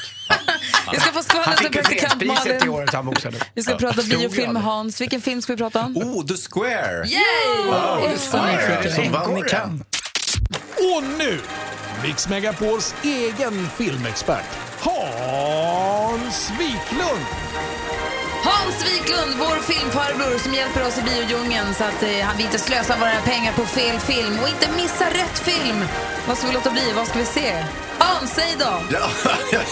B: Vi ska få skvallret
C: Han
B: med
C: fick ju
B: praktikant
C: fredspriset
B: Malin.
C: i året han boxade.
B: Vi ska prata
C: Stod ju
B: biofilm med
C: aldrig.
B: Hans. Vilken film ska vi prata om?
T: Oh, The Square!
B: Yay!
T: Wow,
B: Det är så nyfiken.
T: som vann i Cannes.
V: Och nu, Mix Megapols e- egen filmexpert, Hans Wiklund!
B: Hans Wiklund, vår filmfarbror som hjälper oss i biodjungeln så att eh, han vi inte slösar våra pengar på fel film och inte missar rätt film. Vad ska vi låta bli? Vad ska vi se? Hans, säg då!
T: Ja, jag,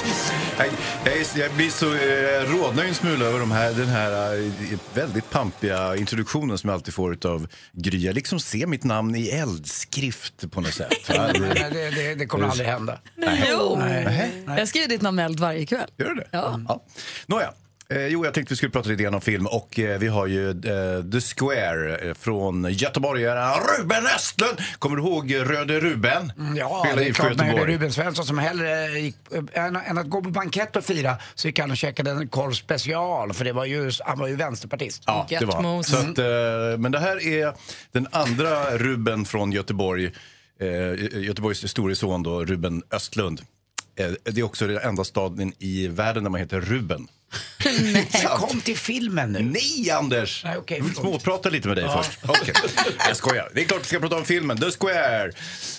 T: jag, är- jag blir så eh, rodnar en smula över de här, den här eh, väldigt pampiga introduktionen som jag alltid får av Gry. Jag liksom ser mitt namn i eldskrift på något sätt. Ja,
C: Nej, nej, det, det, det kommer aldrig hända.
B: Jo!
T: Nej.
B: Jag skriver ditt namn med eld varje kväll.
T: Gör du det?
B: Ja.
T: Nåja. Eh, jo, jag tänkte vi skulle prata lite grann om film och eh, vi har ju eh, The Square eh, från göteborgaren Ruben Östlund. Kommer du ihåg eh, Röde Ruben?
C: Mm, Ja,
T: Spelade
C: det är
T: IFK
C: klart. Men
T: Göteborg.
C: Ruben Svensson som hellre gick, eh, än, än att gå på bankett och fira så gick han och käkade en korv special för det var ju, han var ju vänsterpartist.
T: Ja, det var. han. Så att, eh, men det här är den andra Ruben från Göteborg. Eh, Göteborgs store son då, Ruben Östlund. Eh, det är också den enda staden i världen där man heter Ruben.
C: Så Mm. kom till filmen nu.
T: Nej, Anders!
C: Nej, okej,
T: Jag vill
C: förlåt.
T: småprata lite med dig
C: Ja.
T: först. Okej. Jag skojar. Det är klart vi ska prata om filmen, The Square.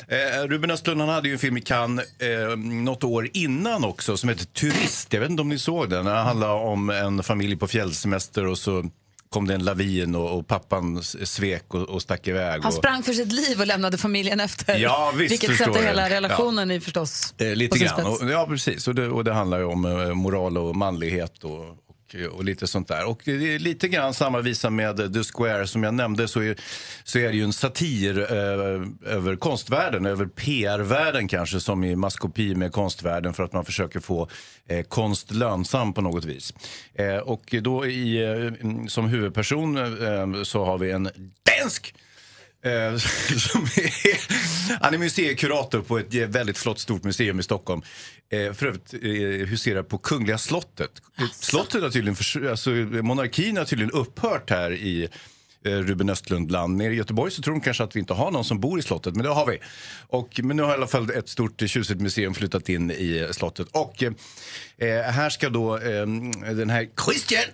T: Eh, Ruben Östlund han hade ju en film i Cannes eh, något år innan också som hette Turist. Jag vet inte om ni såg den. Den handlade om en familj på fjällsemester och så kom det en lavin och, och pappan s- svek och, och stack iväg.
B: Han
T: och,
B: sprang för sitt liv och lämnade familjen efter.
T: Ja, visst,
B: Vilket
T: förstår
B: sätter
T: jag.
B: hela
T: Ja.
B: relationen i förstås.
T: Eh,
B: på
T: lite
B: sin
T: grann.
B: spets.
T: Och, ja, precis. Och det, och det handlar ju om eh, moral och manlighet och, och, och lite sånt där. Och det är lite grann samma visa med eh, The Square. Som jag nämnde så är, så är det ju en satir eh, över konstvärlden, över PR-världen kanske, som i maskopi med konstvärlden för att man försöker få eh, konst lönsam på något vis. Eh, och då i, eh, mm, som huvudperson eh, så har vi en dansk Eh, som är, han är museikurator på ett väldigt flott stort museum i Stockholm. Eh, för övrigt eh, huserar på Kungliga slottet. Eh, Slottet har tydligen, förs- alltså, monarkin har tydligen upphört här i eh, Ruben Östlund-land. Nere i Göteborg så tror de kanske att vi inte har någon som bor i slottet, men det har vi. Och, men nu har i alla fall ett stort eh, tjusigt museum flyttat in i eh, slottet. Och eh, eh, här ska då eh, den här Christian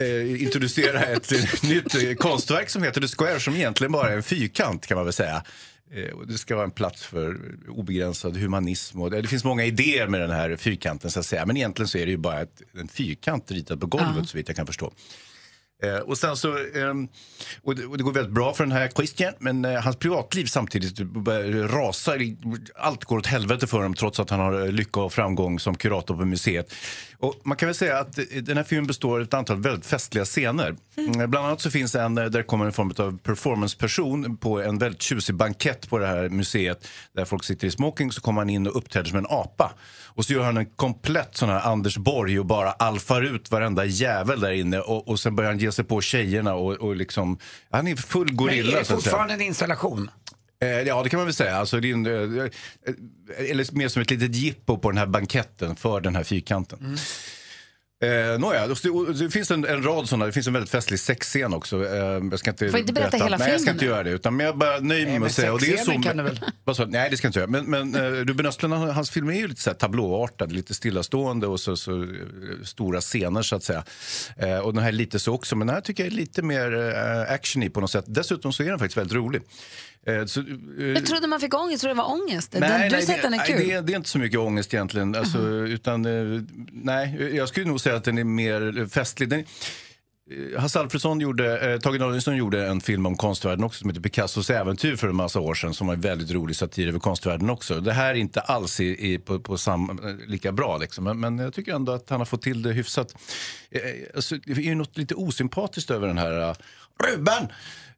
T: eh, introducera ett eh, nytt eh, konstverk som heter The Square som egentligen bara är en fyrkant kan man väl säga. Eh, och Det ska vara en plats för obegränsad humanism. Och det, det finns många idéer med den här fyrkanten, så att säga. men egentligen så är det ju bara ett, en fyrkant ritad på golvet,
U: Ja.
T: så vitt jag kan förstå. Eh, och, sen så, ehm, och, det, och det går väldigt bra för den här Christian, men eh, hans privatliv samtidigt typ börjar rasa. Allt går åt helvete för honom trots att han har eh, lycka och framgång som kurator på museet. Och man kan väl säga att eh, den här filmen består av ett antal väldigt festliga scener. Mm. Bland annat så finns en eh, där det kommer en form av performanceperson på en väldigt tjusig bankett på det här museet där folk sitter i smoking. Så kommer han in och uppträder som en apa. Och så gör han en komplett sån här Anders Borg och bara alfar ut varenda jävel där inne. Och, och sen börjar han ge sig på tjejerna och, och liksom... Han är full gorilla.
C: Men är det
T: så att säga.
C: fortfarande en installation?
T: Eh, Ja, det kan man väl säga. Alltså, det är en, eh, eh, eller mer som ett litet jippo på den här banketten för den här fyrkanten. Eh, Nåja, och det, och det finns en, en rad sådana. Det finns en väldigt festlig sexscen också. Eh, jag ska inte
B: Får inte berätta
T: allt.
B: hela
T: Nej, jag ska
B: filmen
T: inte
B: nu.
T: göra det. Utan, men jag bara nöjer mig
C: men
T: med att säga. Och det är så,
C: sexscenen kan du väl?
T: Vad sa du? nej, det ska jag inte göra. Men, men eh, Ruben Östlund, han- hans filmer är ju lite så här tablåartad, lite stillastående och så, så eh, stora scener så att säga. Eh, och den här är lite så också, men den här tycker jag är lite mer eh, action i på något sätt. Dessutom så är den faktiskt väldigt rolig. Eh, så, eh,
B: Jag trodde man fick ångest, jag trodde det var ångest.
T: Nej,
B: den, du
T: nej,
B: säger att
T: det,
B: den är
T: nej,
B: kul.
T: Det, det är inte så mycket ångest egentligen. Alltså, utan, eh, nej, jag skulle nog säga att den är mer festlig. Den, eh, Hasse Alfredson gjorde, eh, Tage Danielsson gjorde en film om konstvärlden också som heter Picassos äventyr för en massa år sedan som var en väldigt rolig satir över konstvärlden också. Det här är inte alls i, i, på, på sam, eh, lika bra liksom. men, men jag tycker ändå att han har fått till det hyfsat. Eh, Alltså, det är ju något lite osympatiskt över den här eh, Ruben!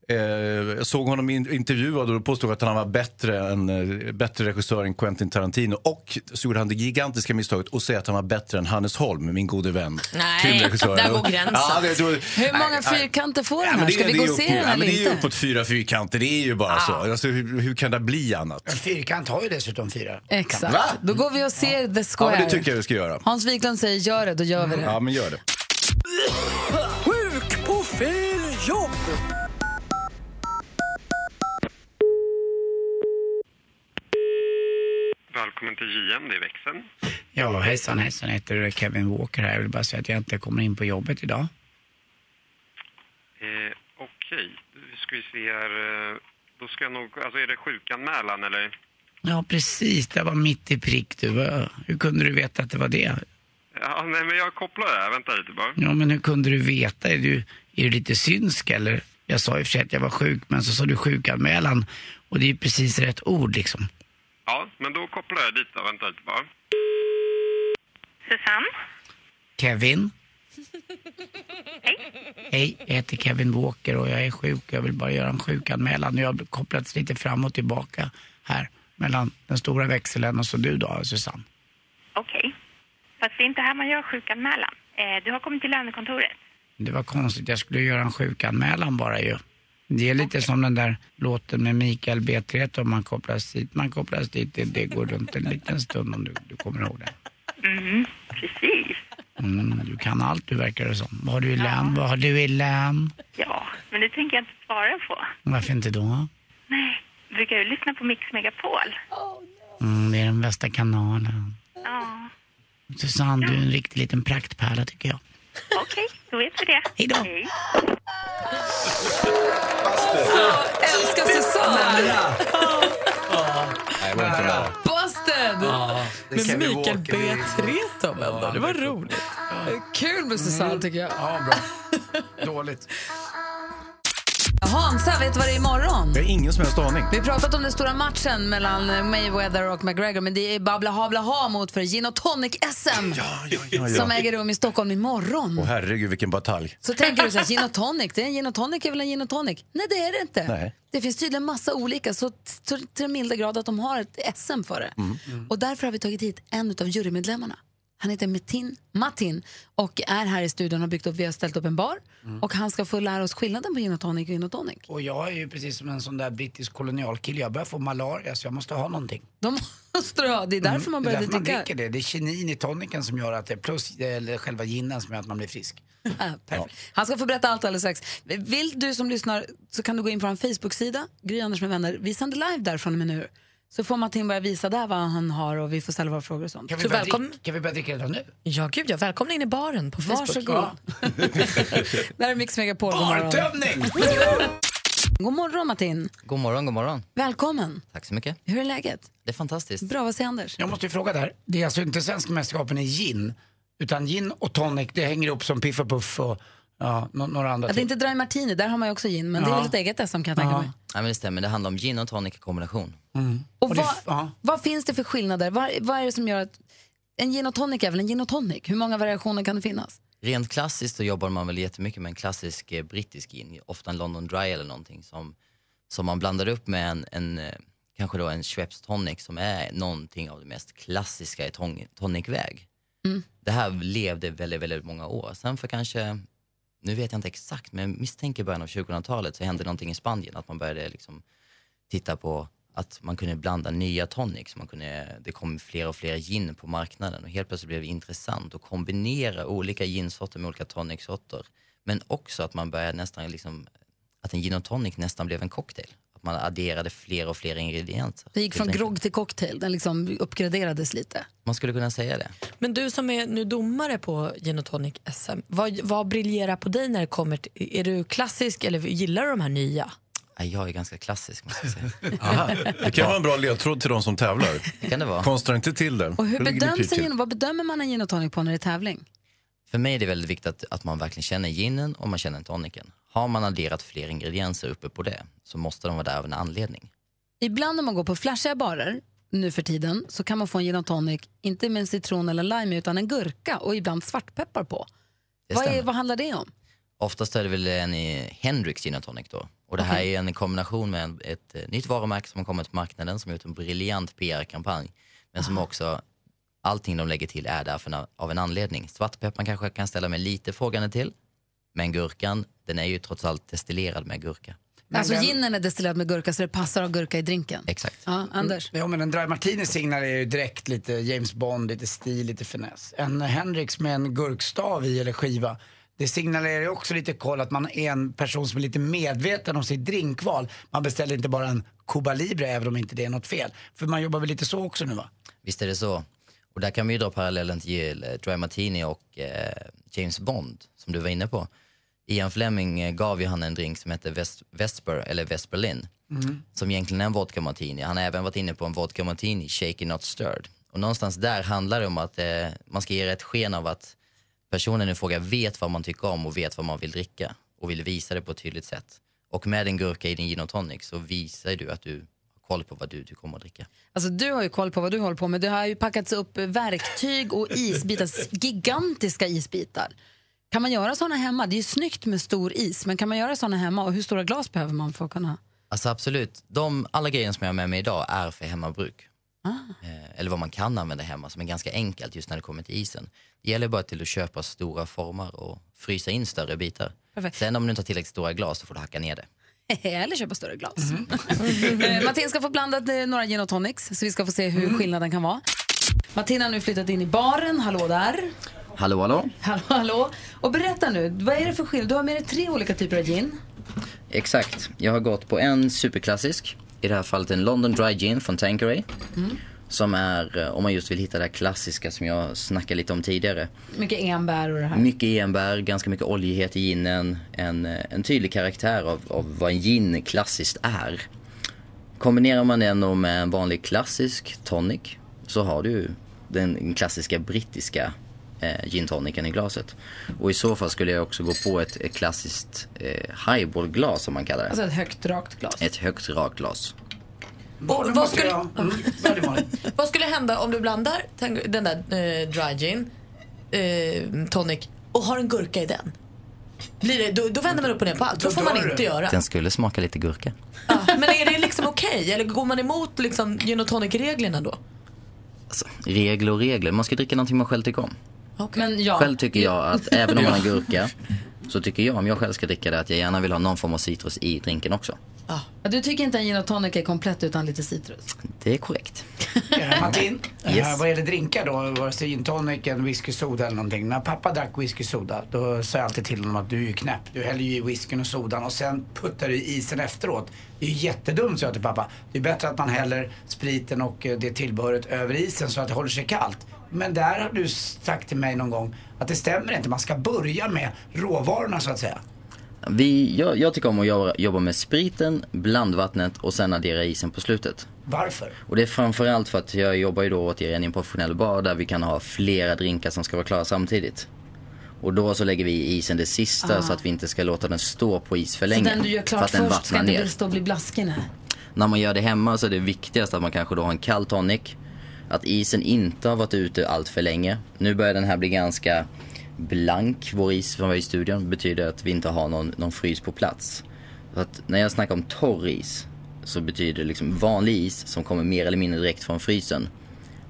T: Eh, jag såg honom in- intervjuad och då påstod att han var bättre, än, eh, bättre regissör än Quentin Tarantino. Och så gjorde han det gigantiska misstaget att säga att han var bättre än Hannes Holm, min gode vän.
D: Nej,
T: Filmregissören.
D: där går gränsen.
T: Ja, det, då,
B: Hur många
T: nej, nej.
B: fyrkanter får den
T: Ja, men
B: här?
T: det,
B: Ska vi
T: det
B: gå
T: är
B: och
T: upp-
B: se den
T: ja, men
B: eller
T: Det är ju
B: inte?
T: uppåt fyra fyrkanter, det är ju bara så. Alltså, hur, hur kan det bli annat?
C: En fyrkant har ju dessutom fyra.
B: Exakt.
T: Va?
B: Då går vi och ser The
T: Ja,
B: Square.
T: men det tycker jag vi ska göra.
B: Hans Wiklund säger gör det, då gör vi det.
T: Ja, men gör det.
H: Sjuk på fel jobb!
W: Välkommen till JM, det är växeln.
C: Ja, hejsan hejsan, jag heter Kevin Walker här. Jag vill bara säga att jag inte kommer in på jobbet idag.
W: Eh, Okej, nu ska vi se här. eh, Då ska jag nog, alltså är det sjukanmälan eller?
C: Ja, precis. Det var mitt i prick du. Vad- Hur kunde du veta att det var det?
W: Ja, nej men jag kopplar det här, vänta lite bara.
C: Ja, men hur kunde du veta? Är du, är du lite synsk eller? Jag sa i och för sig att jag var sjuk, men så sa du sjukanmälan. Och det är ju precis rätt ord liksom.
W: Ja, men då kopplar jag dit då, vänta lite bara.
X: Susanne?
C: Kevin?
X: Hej.
C: Hej, jag heter Kevin Walker och jag är sjuk. Jag vill bara göra en sjukanmälan. Jag har kopplats lite fram och tillbaka här mellan den stora växeln och så du då, Susanne.
X: Okej. Fast det är inte här man gör sjukanmälan.
E: Eh, du har kommit till lönekontoret.
C: Det var konstigt, jag skulle göra en sjukanmälan bara ju. Det är lite som den där låten med Mikael B. Treto, om man kopplas hit, man kopplas dit, det, det går runt en liten stund om du, du kommer ihåg den.
E: Mm, precis.
C: Mm, du kan allt du verkar det som. Vad har du i lön? Vad har du i lön?
E: Ja, men det tänker jag inte svara på.
C: Varför inte då?
E: Nej. Brukar du lyssna på Mix Megapol?
C: Mm, det är den bästa kanalen.
E: Ja.
C: Susanne, du är en riktig liten praktpärla tycker jag.
E: Okej, då vet vi det.
C: Hej då.
E: Hej.
B: Älskar Susanne!
T: Nej, det var inte bra.
B: Busted!
T: Ja, det
B: med
T: kan vi
B: Mikael
T: åka
B: B. Tretow ändå. Det var roligt. Kul med
T: Mm.
B: Susanne tycker jag.
C: Ja, bra. Dåligt.
B: Hansa, vet du vad det är imorgon?
T: Jag har ingen som helst aning.
B: Vi har pratat om den stora matchen mellan eh, Mayweather och McGregor men det är Babla Habla Ha mot för gin och tonic-SM
T: ja, ja.
B: som äger rum i Stockholm imorgon.
T: Åh herregud vilken batalj.
B: Så tänker du så här, gin och tonic, det är en gin och tonic är väl en gin och tonic? Nej, det är det inte.
T: Nej.
B: Det finns tydligen massa olika, så t- till den milda grad att de har ett SM för det.
C: Mm.
B: Och därför har vi tagit hit en av jurymedlemmarna. Han heter Metin, Martin och är här i studion och har byggt upp, vi har ställt upp en bar
C: Mm.
B: och han ska få lära oss skillnaden på gin och tonic och gin och tonic.
C: Och jag är ju precis som en sån där brittisk kolonialkille, jag börjar få malaria så jag måste ha någonting.
B: De måste du ha, det är därför man
C: Mm. det är
B: började
C: därför man
B: dricka.
C: dricker det. Det är kinin i toniken som gör att det, plus eller själva ginen som gör att man blir frisk.
B: Äh, Han ska få berätta allt alldeles strax. Vill du som lyssnar så kan du gå in på vår Facebook-sida, Gry Anders med vänner. Vi sänder live där från och med nu. Så får Martin börja visa där vad han har och vi får ställa våra frågor och sånt.
C: Kan vi,
B: så
C: börja,
B: välkommen.
C: dricka, kan vi börja dricka redan nu?
D: Ja, gud ja. Välkomna in i baren på Facebook.
B: Varsågod. Där är Mix Megapol. God morgon.
C: Bartömning!
V: Mm.
B: God morgon Martin.
A: God morgon, god morgon.
B: Välkommen.
A: Tack så mycket.
B: Hur är läget?
A: Det är fantastiskt.
B: Bra, vad säger Anders?
C: Jag måste ju fråga där. Det är alltså inte svenska mästerskapen i gin, utan gin och tonic, det hänger ihop som Piff och Puff och ja, nå- några andra.
B: Att det
C: till.
B: inte är Dry Martini, där har man ju också gin, men det är
C: Ja.
B: väl ett eget SM kan jag tänka mig.
A: Nej, men det stämmer, det handlar om gin och tonic i kombination.
B: Och vad, vad finns det för skillnader? Vad, vad är det som gör att en gin och tonic är väl en gin och tonic? Hur många variationer kan det finnas?
A: Rent klassiskt så jobbar man väl jättemycket med en klassisk eh, brittisk gin, ofta en London Dry eller någonting som, som man blandar upp med en, en eh, kanske då en Schweppes tonic som är någonting av det mest klassiska i ton, tonicväg.
B: Mm.
A: Det här levde väldigt, väldigt många år. Sen för kanske, nu vet jag inte exakt, men jag misstänker början av 2000-talet så hände någonting i Spanien, att man började liksom titta på att man kunde blanda nya tonics. Man kunde, det kom fler och fler gin på marknaden och helt plötsligt blev det intressant att kombinera olika ginsorter med olika tonicsorter. Men också att man började nästan liksom, att en gin och tonic nästan blev en cocktail. Att man adderade fler och fler ingredienser.
B: Det gick
A: helt
B: från
A: enkelt.
B: grogg till cocktail, den liksom uppgraderades lite.
A: Man skulle kunna säga det.
D: Men du som är nu domare på gin och tonic SM, vad, vad briljerar på dig när det kommer till, är du klassisk eller gillar du de här nya?
A: Nej, Jag är ganska klassisk måste jag säga.
T: Det kan vara en bra ledtråd till de som tävlar.
A: Det kan det vara.
T: Konstra inte till det.
B: Och hur
A: Då ligger ni
B: bedöms
A: pyrt
B: en
A: till.
B: gin, vad bedömer man en gin och tonic på när det är tävling?
A: För mig är det väldigt viktigt att, att man verkligen känner ginen och man känner toniken. Har man adderat fler ingredienser uppe på det så måste de vara där av en anledning.
B: Ibland om man går på flashiga barer nu för tiden så kan man få en gin och tonic, inte med en citron eller lime utan en gurka och ibland svartpeppar på.
A: Det
B: Vad, är,
A: stämmer.
B: vad handlar det om?
A: Oftast är det väl en i Hendrix gin och tonic då. Och det här är en kombination med en, ett eh, nytt varumärke som har kommit på marknaden som har gjort en briljant PR-kampanj. Men som också, allting de lägger till är där för en, av en anledning. Svartpepparn kanske jag kan ställa mig lite frågande till. Men gurkan, den är ju trots allt destillerad med gurka.
B: alltså ginen är destillerad med gurka så det passar att ha gurka i drinken.
A: Exakt.
B: Ja, Anders?
C: Mm. Ja, men en Dry Martini signalerar ju direkt lite James Bond, lite stil, lite finess. En Hendrix med en gurkstav i eller skiva, det signalerar ju också lite koll att man är en person som är lite medveten om sitt drinkval. Man beställer inte bara en Cuba Libre även om inte det är något fel. För man jobbar väl lite så också nu va?
A: Visst är det så. Och där kan vi ju dra parallellen till eh, Dry Martini och eh, James Bond, som du var inne på. Ian Fleming eh, gav ju han en drink som hette West, Vesper, eller West Berlin,
C: Mm.
A: som egentligen är en vodka martini. Han har även varit inne på en vodka martini, shaken not stirred. Och någonstans där handlar det om att eh, man ska ge ett sken av att personen i fråga vet vad man tycker om och vet vad man vill dricka och vill visa det på ett tydligt sätt. Och med en gurka i din gin och tonic så visar du att du har koll på vad du tycker om att dricka.
B: Alltså, du har ju koll på vad du håller på med. Det har ju packats upp verktyg och isbitar, s- gigantiska isbitar. Kan man göra såna hemma? Det är ju snyggt med stor is, men kan man göra såna hemma? Och hur stora glas behöver man för att kunna?
A: Alltså absolut, de, alla grejer som jag har med mig idag är för hemmabruk.
B: Ah.
U: Eh, eller vad man kan använda hemma som är ganska enkelt just när det kommer till isen. Det gäller bara till att köpa stora formar och frysa in större bitar. Sen om du inte har tillräckligt stora glas så får du hacka ner det.
B: Eller köpa större glas. Eh, Martin ska få blandat eh, några gin och tonics, så vi ska få se hur skillnaden kan vara. Martin har nu flyttat in i baren. Hallå där.
A: Hallå, hallå.
B: Hallå, hallå. Och berätta nu, vad är det för skillnad? Du har med dig tre olika typer av gin.
A: Exakt. Jag har gått på en superklassisk. I det här fallet en London Dry Gin från Tanqueray.
B: Mm.
A: Som är, eh, om man just vill hitta det här klassiska som jag snackade lite om tidigare.
B: Mycket enbär och det här.
A: Mycket enbär, ganska mycket oljighet i ginen. En, eh, en tydlig karaktär av, av vad en gin klassiskt är. Kombinerar man den då med en vanlig klassisk tonic så har du den klassiska brittiska eh, gin tonicen i glaset. Och i så fall skulle jag också gå på ett, ett klassiskt eh, highballglas som man kallar det.
B: Alltså ett högt, rakt glas.
A: Ett högt rakt glas.
D: Och vad, skulle, vad skulle hända om du blandar tang- den där eh, dry gin, eh, tonic och har en gurka i den? Blir det, då, då vänder man upp och ner på allt. Så får man inte göra.
U: Den skulle smaka lite gurka.
D: Ja, men är det liksom okej? Eller går man emot liksom, gin och tonic-reglerna då?
A: Alltså, Regler och regler. Man ska dricka någonting man själv tycker om.
B: Men ja.
A: Själv tycker jag att även om man har gurka så tycker jag om jag själv ska dricka det att jag gärna vill ha någon form av citrus i drinken också.
B: Ja, Du tycker inte en gin och tonic är komplett utan lite citrus?
A: Det är korrekt.
C: Eh, Martin, eh,
A: Yes.
C: vad gäller drinkar då, vare sig gin tonic, en whisky soda eller någonting. När pappa drack whisky soda, då sa jag alltid till honom att du är ju knäpp. Du häller ju i whiskyn och sodan och sen puttar du i isen efteråt. Det är ju jättedumt, sa jag till pappa. Det är bättre att man häller spriten och eh, det tillbehöret över isen så att det håller sig kallt. Men där har du sagt till mig någon gång att det stämmer inte. Man ska börja med råvarorna så att säga.
A: Vi, jag, jag tycker om att jobba, jobba med spriten, blandvattnet och sen addera isen på slutet.
C: Varför?
A: Och det är framförallt för att jag jobbar ju då återigen i en professionell bar där vi kan ha flera drinkar som ska vara klara samtidigt. Och då så lägger vi i isen det sista
B: Ah.
A: så att vi inte ska låta den stå på is för
B: Så
A: länge.
B: den du gör
A: för
B: klart
A: att den
B: först ska
A: vattnar
B: inte
A: ner.
B: bli, stå och bli blaskig? Nej.
A: När man gör det hemma så är det viktigast att man kanske då har en kall tonic. Att isen inte har varit ute allt för länge. Nu börjar den här bli ganska blank, vår is som var i studion. betyder att vi inte har någon, någon frys på plats. Så att när jag snackar om torr is så betyder det liksom vanlig is som kommer mer eller mindre direkt från frysen.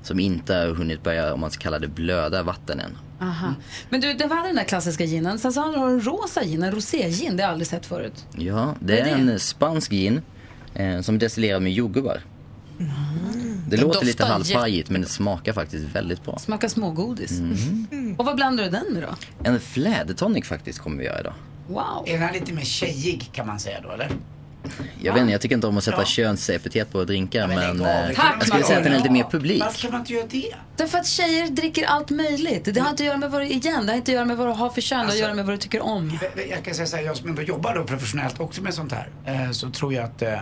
A: Som inte har hunnit börja, om man ska kalla det, blöda vatten än.
B: Aha. Mm. Men du, det var den där klassiska ginen. Sen så har du en rosa gin, en roségin. Det har jag aldrig sett förut.
A: Ja, det är en spansk gin eh, som destillerar med jordgubbar. Mm. Det
B: Den
A: låter lite
B: doftar
A: halvpajigt men det smakar faktiskt väldigt bra.
B: Smakar smågodis. Mm.
A: Mhm.
B: Och vad blandar du den med då?
A: En flädertonic faktiskt kommer vi göra idag.
B: Wow.
C: Är den här lite mer tjejig kan man säga då, eller?
A: Jag vet inte, jag tycker inte om att sätta
C: Ja.
A: könsepitet på drinkar men,
C: lägg av,
A: eh,
C: det kan
A: jag
C: man
A: skulle säga att den är lite mer
C: göra.
A: publik.
C: Varför kan man inte göra det?
B: Därför att tjejer dricker allt möjligt. Det har inte att göra med vad du, igen, det har inte att göra med vad du har för kön, det har att
C: Alltså-
B: göra med vad du tycker om.
C: Jag kan säga så här, jag som ändå jobbar då professionellt också med sånt här, eh, så tror jag att eh,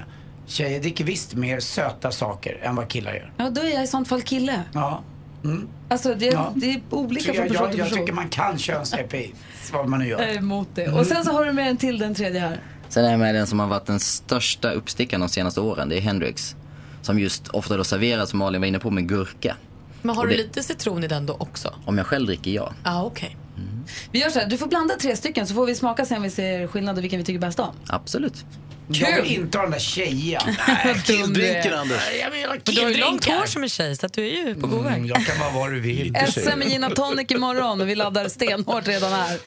C: tjejer dricker visst mer söta saker än vad killar gör.
B: Ja, då är jag i sånt fall kille.
C: Ja. Mm.
B: Alltså det,
C: Ja.
B: det är olika
C: Så
B: från
C: jag,
B: person
C: jag,
B: till
C: jag
B: person. Eh,
C: tycker man kan köns-EPI, vad man nu
B: Jag är
C: gör.
B: emot det. Och sen så har du med en till, den tredje här.
A: Sen är jag med den som har varit den största uppstickaren de senaste åren, det är Hendrix. Som just ofta då serveras, som Malin var inne på, med gurka.
D: Men har
A: Och
D: du
A: det-
D: lite citron i den då också?
A: Om jag själv dricker, ja.
D: Ja, ah, okej.
B: Vi gör så här, du får blanda tre stycken så får vi smaka sen vi ser skillnad och vilken vi tycker bäst om.
A: Absolut.
C: Jag vill inte ha den där tjejiga. Nej,
B: Killdrinken, Anders.
C: Nej, Jag vill ha
D: Men du har ju långt
C: killdrinkar.
D: hår som en tjej så att du är ju på god väg.
C: Mm, jag kan vara vad du vill.
B: SM i gin och tonic imorgon och vi laddar stenhårt redan här.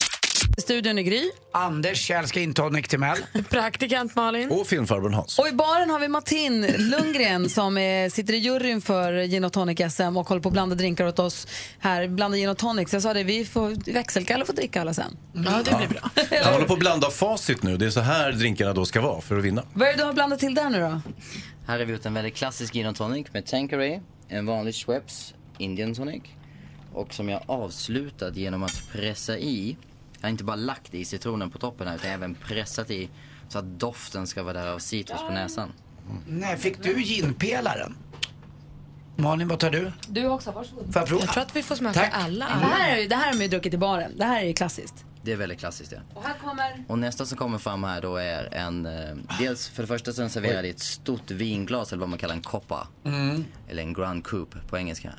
B: Studion är Gry.
C: Anders Kjell ska inta Nick Timell.
D: Praktikant Malin.
T: Och filmfarbrorn Hans.
B: Och i baren har vi Martin Lundgren som eh, sitter i juryn för gin och tonic SM och håller på att blanda drinkar åt oss här. Blanda gin och tonic. Så jag sa det, vi får växelkalle och får dricka alla sen. Ja, det blir bra.
T: Han håller på att blanda facit nu. Det är så här drinkarna då ska vara för att vinna.
B: Vad är det du har blandat till där nu då?
A: Här är vi ut en väldigt klassisk gin och tonic med Tanqueray, en vanlig Schweppes Indian tonic. Och som jag avslutat genom att pressa i, jag har inte bara lagt i citronen på toppen här utan även pressat i så att doften ska vara där av citrus på näsan.
C: Nej, fick du ginpelaren? Malin, vad tar du?
B: Du också, varsågod.
C: Får jag prova?
B: att vi får
A: smaka Tack. alla.
B: Det här, är ju- det här har man ju druckit i baren. Det här är ju klassiskt.
A: Det är väldigt klassiskt ja.
B: Och här kommer...
A: Och nästa som kommer fram här då är en, eh, dels för det första så är den serverad i ett stort vinglas eller vad man kallar en koppa.
C: Mm.
A: Eller en grand coupe på engelska.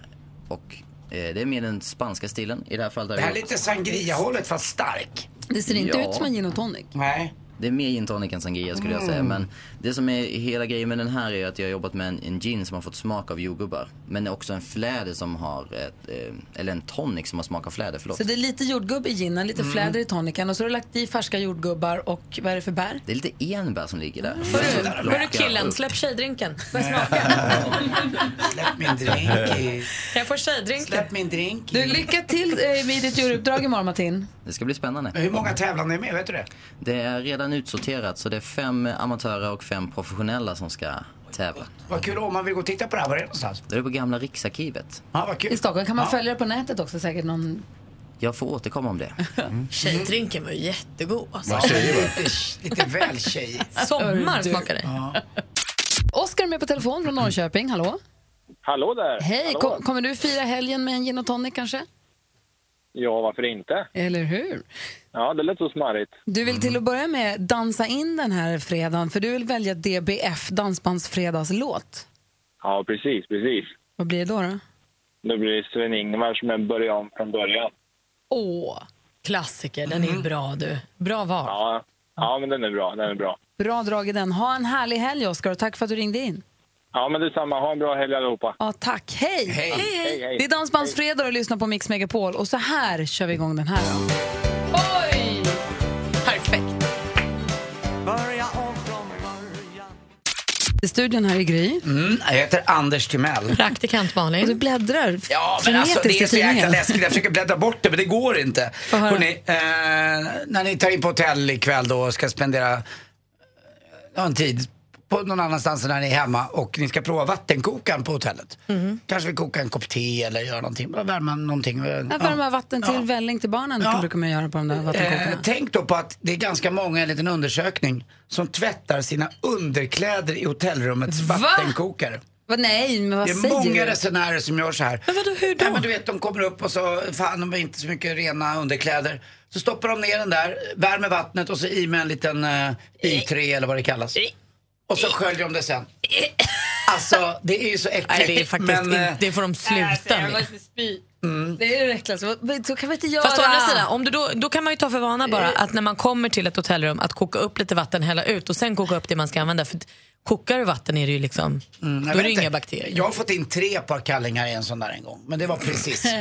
A: Och eh, det är mer den spanska stilen i det här fallet. har
C: Det här är
A: vi-
C: lite sangria-hållet fast stark.
B: Det ser inte
A: Ja.
B: ut som en gin och tonic.
C: Nej.
A: Det är mer gin tonic än sangria skulle jag säga.
U: Mm.
A: Men det som är hela grejen med den här är att jag har jobbat med en, en gin som har fått smak av jordgubbar. Men också en fläder som har, ett, eh, eller en tonic som har smak av fläder, förlåt.
B: Så det är lite jordgubb i ginen, lite
A: Mm.
B: fläder i toniken och så har du lagt i färska jordgubbar och vad är det för bär?
A: Det är lite enbär som ligger där.
D: Hörru killen, släpp tjejdrinken.
C: Släpp min drink.
D: Kan jag få tjejdrinken?
C: Släpp min drink.
B: Du, lycka till eh, med ditt djuruppdrag imorgon Martin.
A: Det ska bli spännande.
C: Hur många tävlande är med? Vet du det?
A: Det är redan utsorterat så det är fem eh, amatörer och fem professionella som ska tävla.
C: Vad kul om man vill gå och titta på det här. Var är det någonstans?
A: Det är på gamla Riksarkivet.
C: Ja, vad kul.
B: I Stockholm kan man
A: Ja.
B: följa det på nätet också säkert någon...
A: Jag får återkomma om det.
D: Mm. Tjejdrinken var ju jättegod. Alltså.
A: Vad tjejig var.
C: Lite väl tjej.
D: Sommar smakar det.
B: Oskar är med på telefon från Norrköping, hallå?
E: Hallå där!
B: Hej,
E: Hallå.
B: kom, kommer du fira helgen med en gin och tonic kanske?
E: Ja, varför inte?
B: Eller hur?
E: Ja, det lät så smarrigt.
B: Du vill
C: Mm.
B: till att börja med dansa in den här fredagen för du vill välja DBF, Dansbandsfredagslåt.
E: Ja, precis, precis.
B: Vad blir det då? då?
E: Då blir det Sven-Ingvar som en början från början.
B: Åh,
D: klassiker. Den är bra du. Bra val.
E: Ja, ja men den är bra, den är bra.
B: Bra drag i den. Ha en härlig helg Oskar och tack för att du ringde in.
E: Ja, men detsamma. Ha en bra helg allihopa.
B: Ja, tack. Hej!
E: Hej. Hej, hej.
B: Det är Dansbandsfredag och lyssnar på Mix Megapol. Och så här kör vi igång den här. Då. Oj! Perfekt.
H: Börja om från
B: I studion här i Gry.
C: Mm, jag heter Anders Timell.
D: Praktikant Malin.
B: Och du bläddrar
C: Ja, men alltså det är så jäkla läskigt. Jag försöker bläddra bort det, men det går inte.
B: Få höra.
C: Hörrni, eh, när ni tar in på hotell ikväll då och ska spendera ja, en tid på någon annanstans än när ni är hemma och ni ska prova vattenkokaren på hotellet.
B: Mm.
C: Kanske vi kokar en kopp te eller gör någonting, bara värma någonting.
B: Jag
C: Mm.
B: värmer vatten till välling till barnen brukar man göra på de där vattenkokarna.
C: Eh, tänk då på att det är ganska många, enligt en undersökning, som tvättar sina underkläder i hotellrummets vattenkokare.
B: Vad- Nej, men vad
C: det är
B: säger
C: många
B: du?
C: resenärer som gör så här. Men vadå, hur då? Nej, men du vet, de kommer upp och så, fan de har inte så mycket rena underkläder. Så stoppar de ner den där, värmer vattnet och så i med en liten eh, I3 eller vad det
D: Eh,
C: kallas. Och så sköljer de det sen. Alltså, det är ju så äckligt.
D: Nej, det är faktiskt
C: men, eh,
D: inte- det får de sluta med.
C: Mm.
B: Det är det äckligaste. Vad- Så kan vi inte göra.
D: Fast å andra sidan, om du då, då kan man ju ta för vana bara att när man kommer till ett hotellrum att koka upp lite vatten, hälla ut och sen koka upp det man ska använda. För att kokar du vatten är det ju liksom,
B: Mm.
C: Mm, jag
D: då är
C: vet
D: det
C: inte.
D: inga bakterier.
C: Jag har fått in tre par kallingar i en sån där en gång. Men det var precis.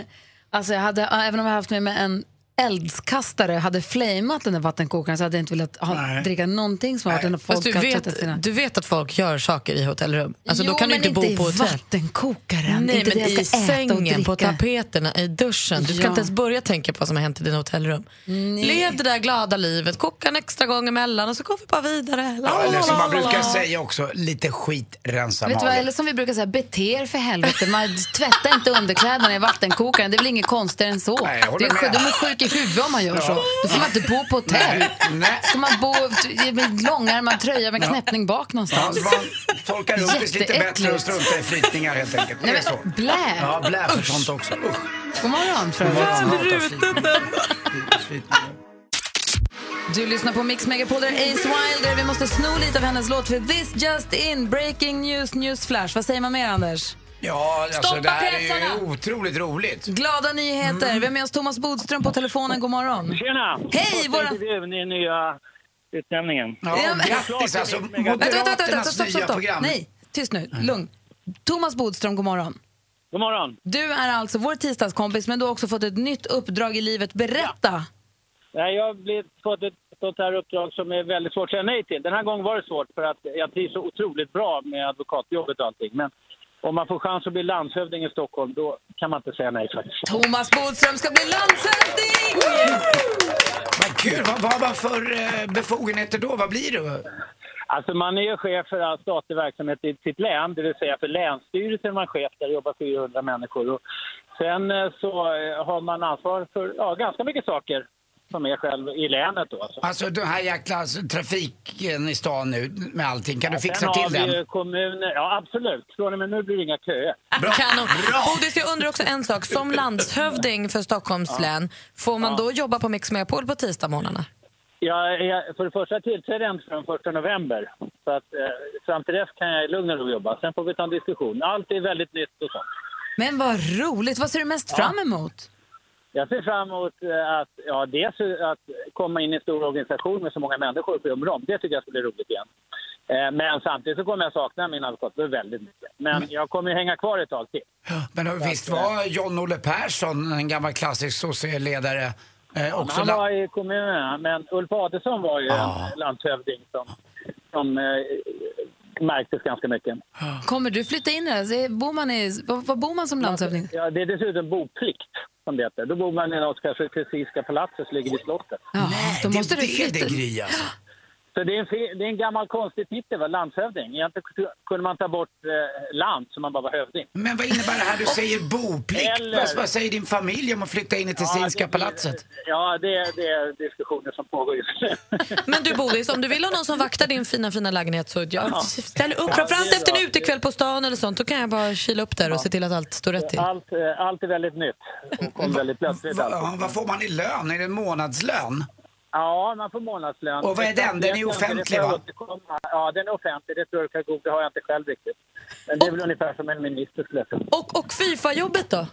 B: Alltså jag hade, även om jag haft med mig en eldskastare hade flameat den där vattenkokaren så hade jag inte velat ha, dricka någonting som har varit en
D: Fast du
B: folk har tvättat sina...
D: vet, du vet att folk gör saker i hotellrum. Alltså,
B: Jo,
D: då kan du
B: men
D: inte bo
B: inte i
D: på hotell.
B: vattenkokaren.
D: Nej,
B: Inte det
D: men
B: jag
D: i
B: ska äta och
D: sängen, på
B: dricka.
D: tapeterna, i duschen. Du ska
B: Ja.
D: inte ens börja tänka på vad som har hänt i dina hotellrum. Lev det där glada livet, koka en extra gång emellan och så går vi bara vidare. La,
C: Ja,
D: la,
C: eller som
D: la,
C: man
D: la,
C: brukar
D: la.
C: säga också, lite skit rensar
B: Vet du vad, eller
C: magen.
B: som vi brukar säga, bete er för helvete. Man tvättar inte underkläderna i vattenkokaren. Det är väl inget konstigare än så.
C: jag håller
B: det är, sjuk-
C: med.
B: de är sjuka i huvudet om man gör
C: Ja.
B: så. Då får man inte bo på hotell.
C: Nej.
B: Ska man bo t- med långärmad tröja med knäppning bak
C: Ja,
B: någonstans?
C: så man torkar upp det lite bättre och struntar i flytningar helt enkelt. Det är så.
B: Blä!
C: Ja, blä för sånt också. Usch.
B: God morgon,
C: God morgon.
B: Du lyssnar på Mix Megapol, där är Ace Wilder. Vi måste sno lite av hennes låt för This Just In, Breaking News, Newsflash. Vad säger man mer, Anders?
C: Ja, alltså
B: Stoppa
C: det här är ju
B: pjäserna!
C: otroligt roligt.
B: Glada nyheter. Vi har med oss Thomas Bodström på telefonen. God morgon.
K: Tjena!
B: Hej! Våra...
K: Tänkte du ni nya utnämningen?
B: Ja, Ja, men-
C: grattis, alltså,
K: Vänta,
B: Vänta, vänta, vänta, vänta, stopp, stopp, stopp. Nej, tyst nu. Lugn. Thomas Bodström, god morgon.
K: God morgon.
B: Du är alltså vår tisdagskompis, men du har också fått ett nytt uppdrag i livet. Berätta!
K: Nej, jag har blivit, fått ett sånt här uppdrag som är väldigt svårt att säga nej till. Den här gången var det svårt för att jag trivs så otroligt bra med advokatjobbet och allting. Men om man får chans att bli landshövding i Stockholm, då kan man inte säga nej faktiskt.
B: Thomas Bodström ska bli landshövding!
C: Vad kul, vad vad har man för eh, befogenheter då? Vad blir du?
K: Alltså man är ju chef för all statlig verksamhet i sitt län, det vill säga för länsstyrelsen är man chef, där jobbar 400 människor. Och sen eh, så eh, har man ansvar för ja, ganska mycket saker som är själv i länet då. Alltså.
C: Alltså den här jäkla alltså, trafiken i stan nu med allting, kan du fixa
K: sen
C: till
K: har vi ju
C: den?
K: kommuner, ja absolut. Från och med nu blir det inga köer.
D: Ah, Kanon. Bodis, jag undrar också en sak. Som landshövding för Stockholms län, får man
K: Ja.
D: då jobba på Mix Megapol på tisdagsmorgnarna?
K: Jag är för det första tillträdde jag inte förrän 1 november. Så att, eh, fram till dess kan jag i lugn och ro jobba. Sen får vi ta en diskussion. Allt är väldigt nytt och sånt.
B: Men vad roligt! Vad ser du mest fram emot?
K: Jag ser fram emot eh, att, ja, dels att komma in i en stor organisation med så många människor på om. Det tycker jag skulle bli roligt igen. Eh, Men samtidigt så kommer jag sakna min advokatbyrå väldigt mycket. Men
C: Mm.
K: jag kommer ju hänga kvar ett tag till.
C: Men visst var John-Olle Persson, en gammal klassisk sosseledare, eh,
K: Ja, men
C: också...
K: han
C: la-
K: var i kommunen, men Ulf Adelsohn var ju en landshövding som, som eh, märktes ganska mycket.
B: Kommer du flytta in där? Så är- Bor man i, var var bor man som landshövding?
K: Ja, det är dessutom boplikt, som det heter. Då bor man i något kanske Kresiska palatset, som ligger vid slottet.
B: Nej, då måste du flytta.
K: Så det är, en, fe- det är en gammal konstig titel, va? landshövding. Egentligen kunde man ta bort eh, land, så man bara var hövding.
C: Men vad innebär det här du säger boplikt?
K: Eller-
C: Vad- Vad säger din familj om att flytta in i Tessinska palatset?
K: Ja, det är, det är diskussioner som pågår just nu.
D: Men du Boris, om du vill ha någon som vaktar din fina fina lägenhet så jag ställer upp. Framförallt efter en utekväll på stan eller sånt, då kan jag bara kila upp där och se till att allt står rätt till.
K: Allt, eh, allt är väldigt nytt och kom väldigt plötsligt. alltså.
C: Ja, vad får man i lön? Är det en månadslön?
K: Ja, man får månadslön.
C: Och vad är den? Den är ju
K: Exakt, det
C: offentlig,
K: får jag
C: va?
K: återkomma. Ja, den är offentlig. Det tror jag googla har jag inte själv riktigt. Men det är väl ungefär som en minister skulle jag
D: Och, och Fifa-jobbet då?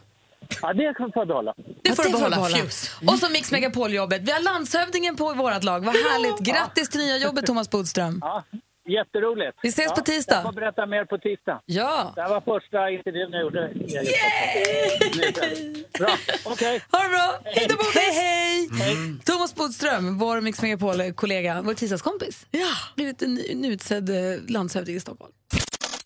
K: Ja, det får jag behålla.
D: Det får du behålla. Fjus.
B: Och så Mix Megapol-jobbet. Vi har landshövdingen på vårt lag. Vad härligt. Grattis till nya jobbet, Thomas Bodström.
K: Jätteroligt.
B: Vi ses
K: ja,
B: på tisdag.
K: Jag får berätta mer på tisdag.
B: Ja.
K: Det här var första intervjun jag gjorde. Yay! Bra, okej.
B: Ha det bra! Hej då, Boris! Hej, hej! Thomas Bodström, vår Mix Megapol-kollega, vår tisdagskompis. Ja. Blivit en, en utsedd eh, landshövding i Stockholm.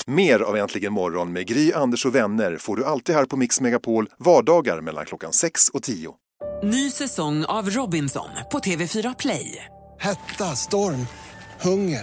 F: Mer av Äntligen morgon med Gry, Anders och vänner får du alltid här på Mix Megapol vardagar mellan klockan 6 och 10.
H: Ny säsong av Robinson på TV4 Play.
I: Hetta, storm, hunger.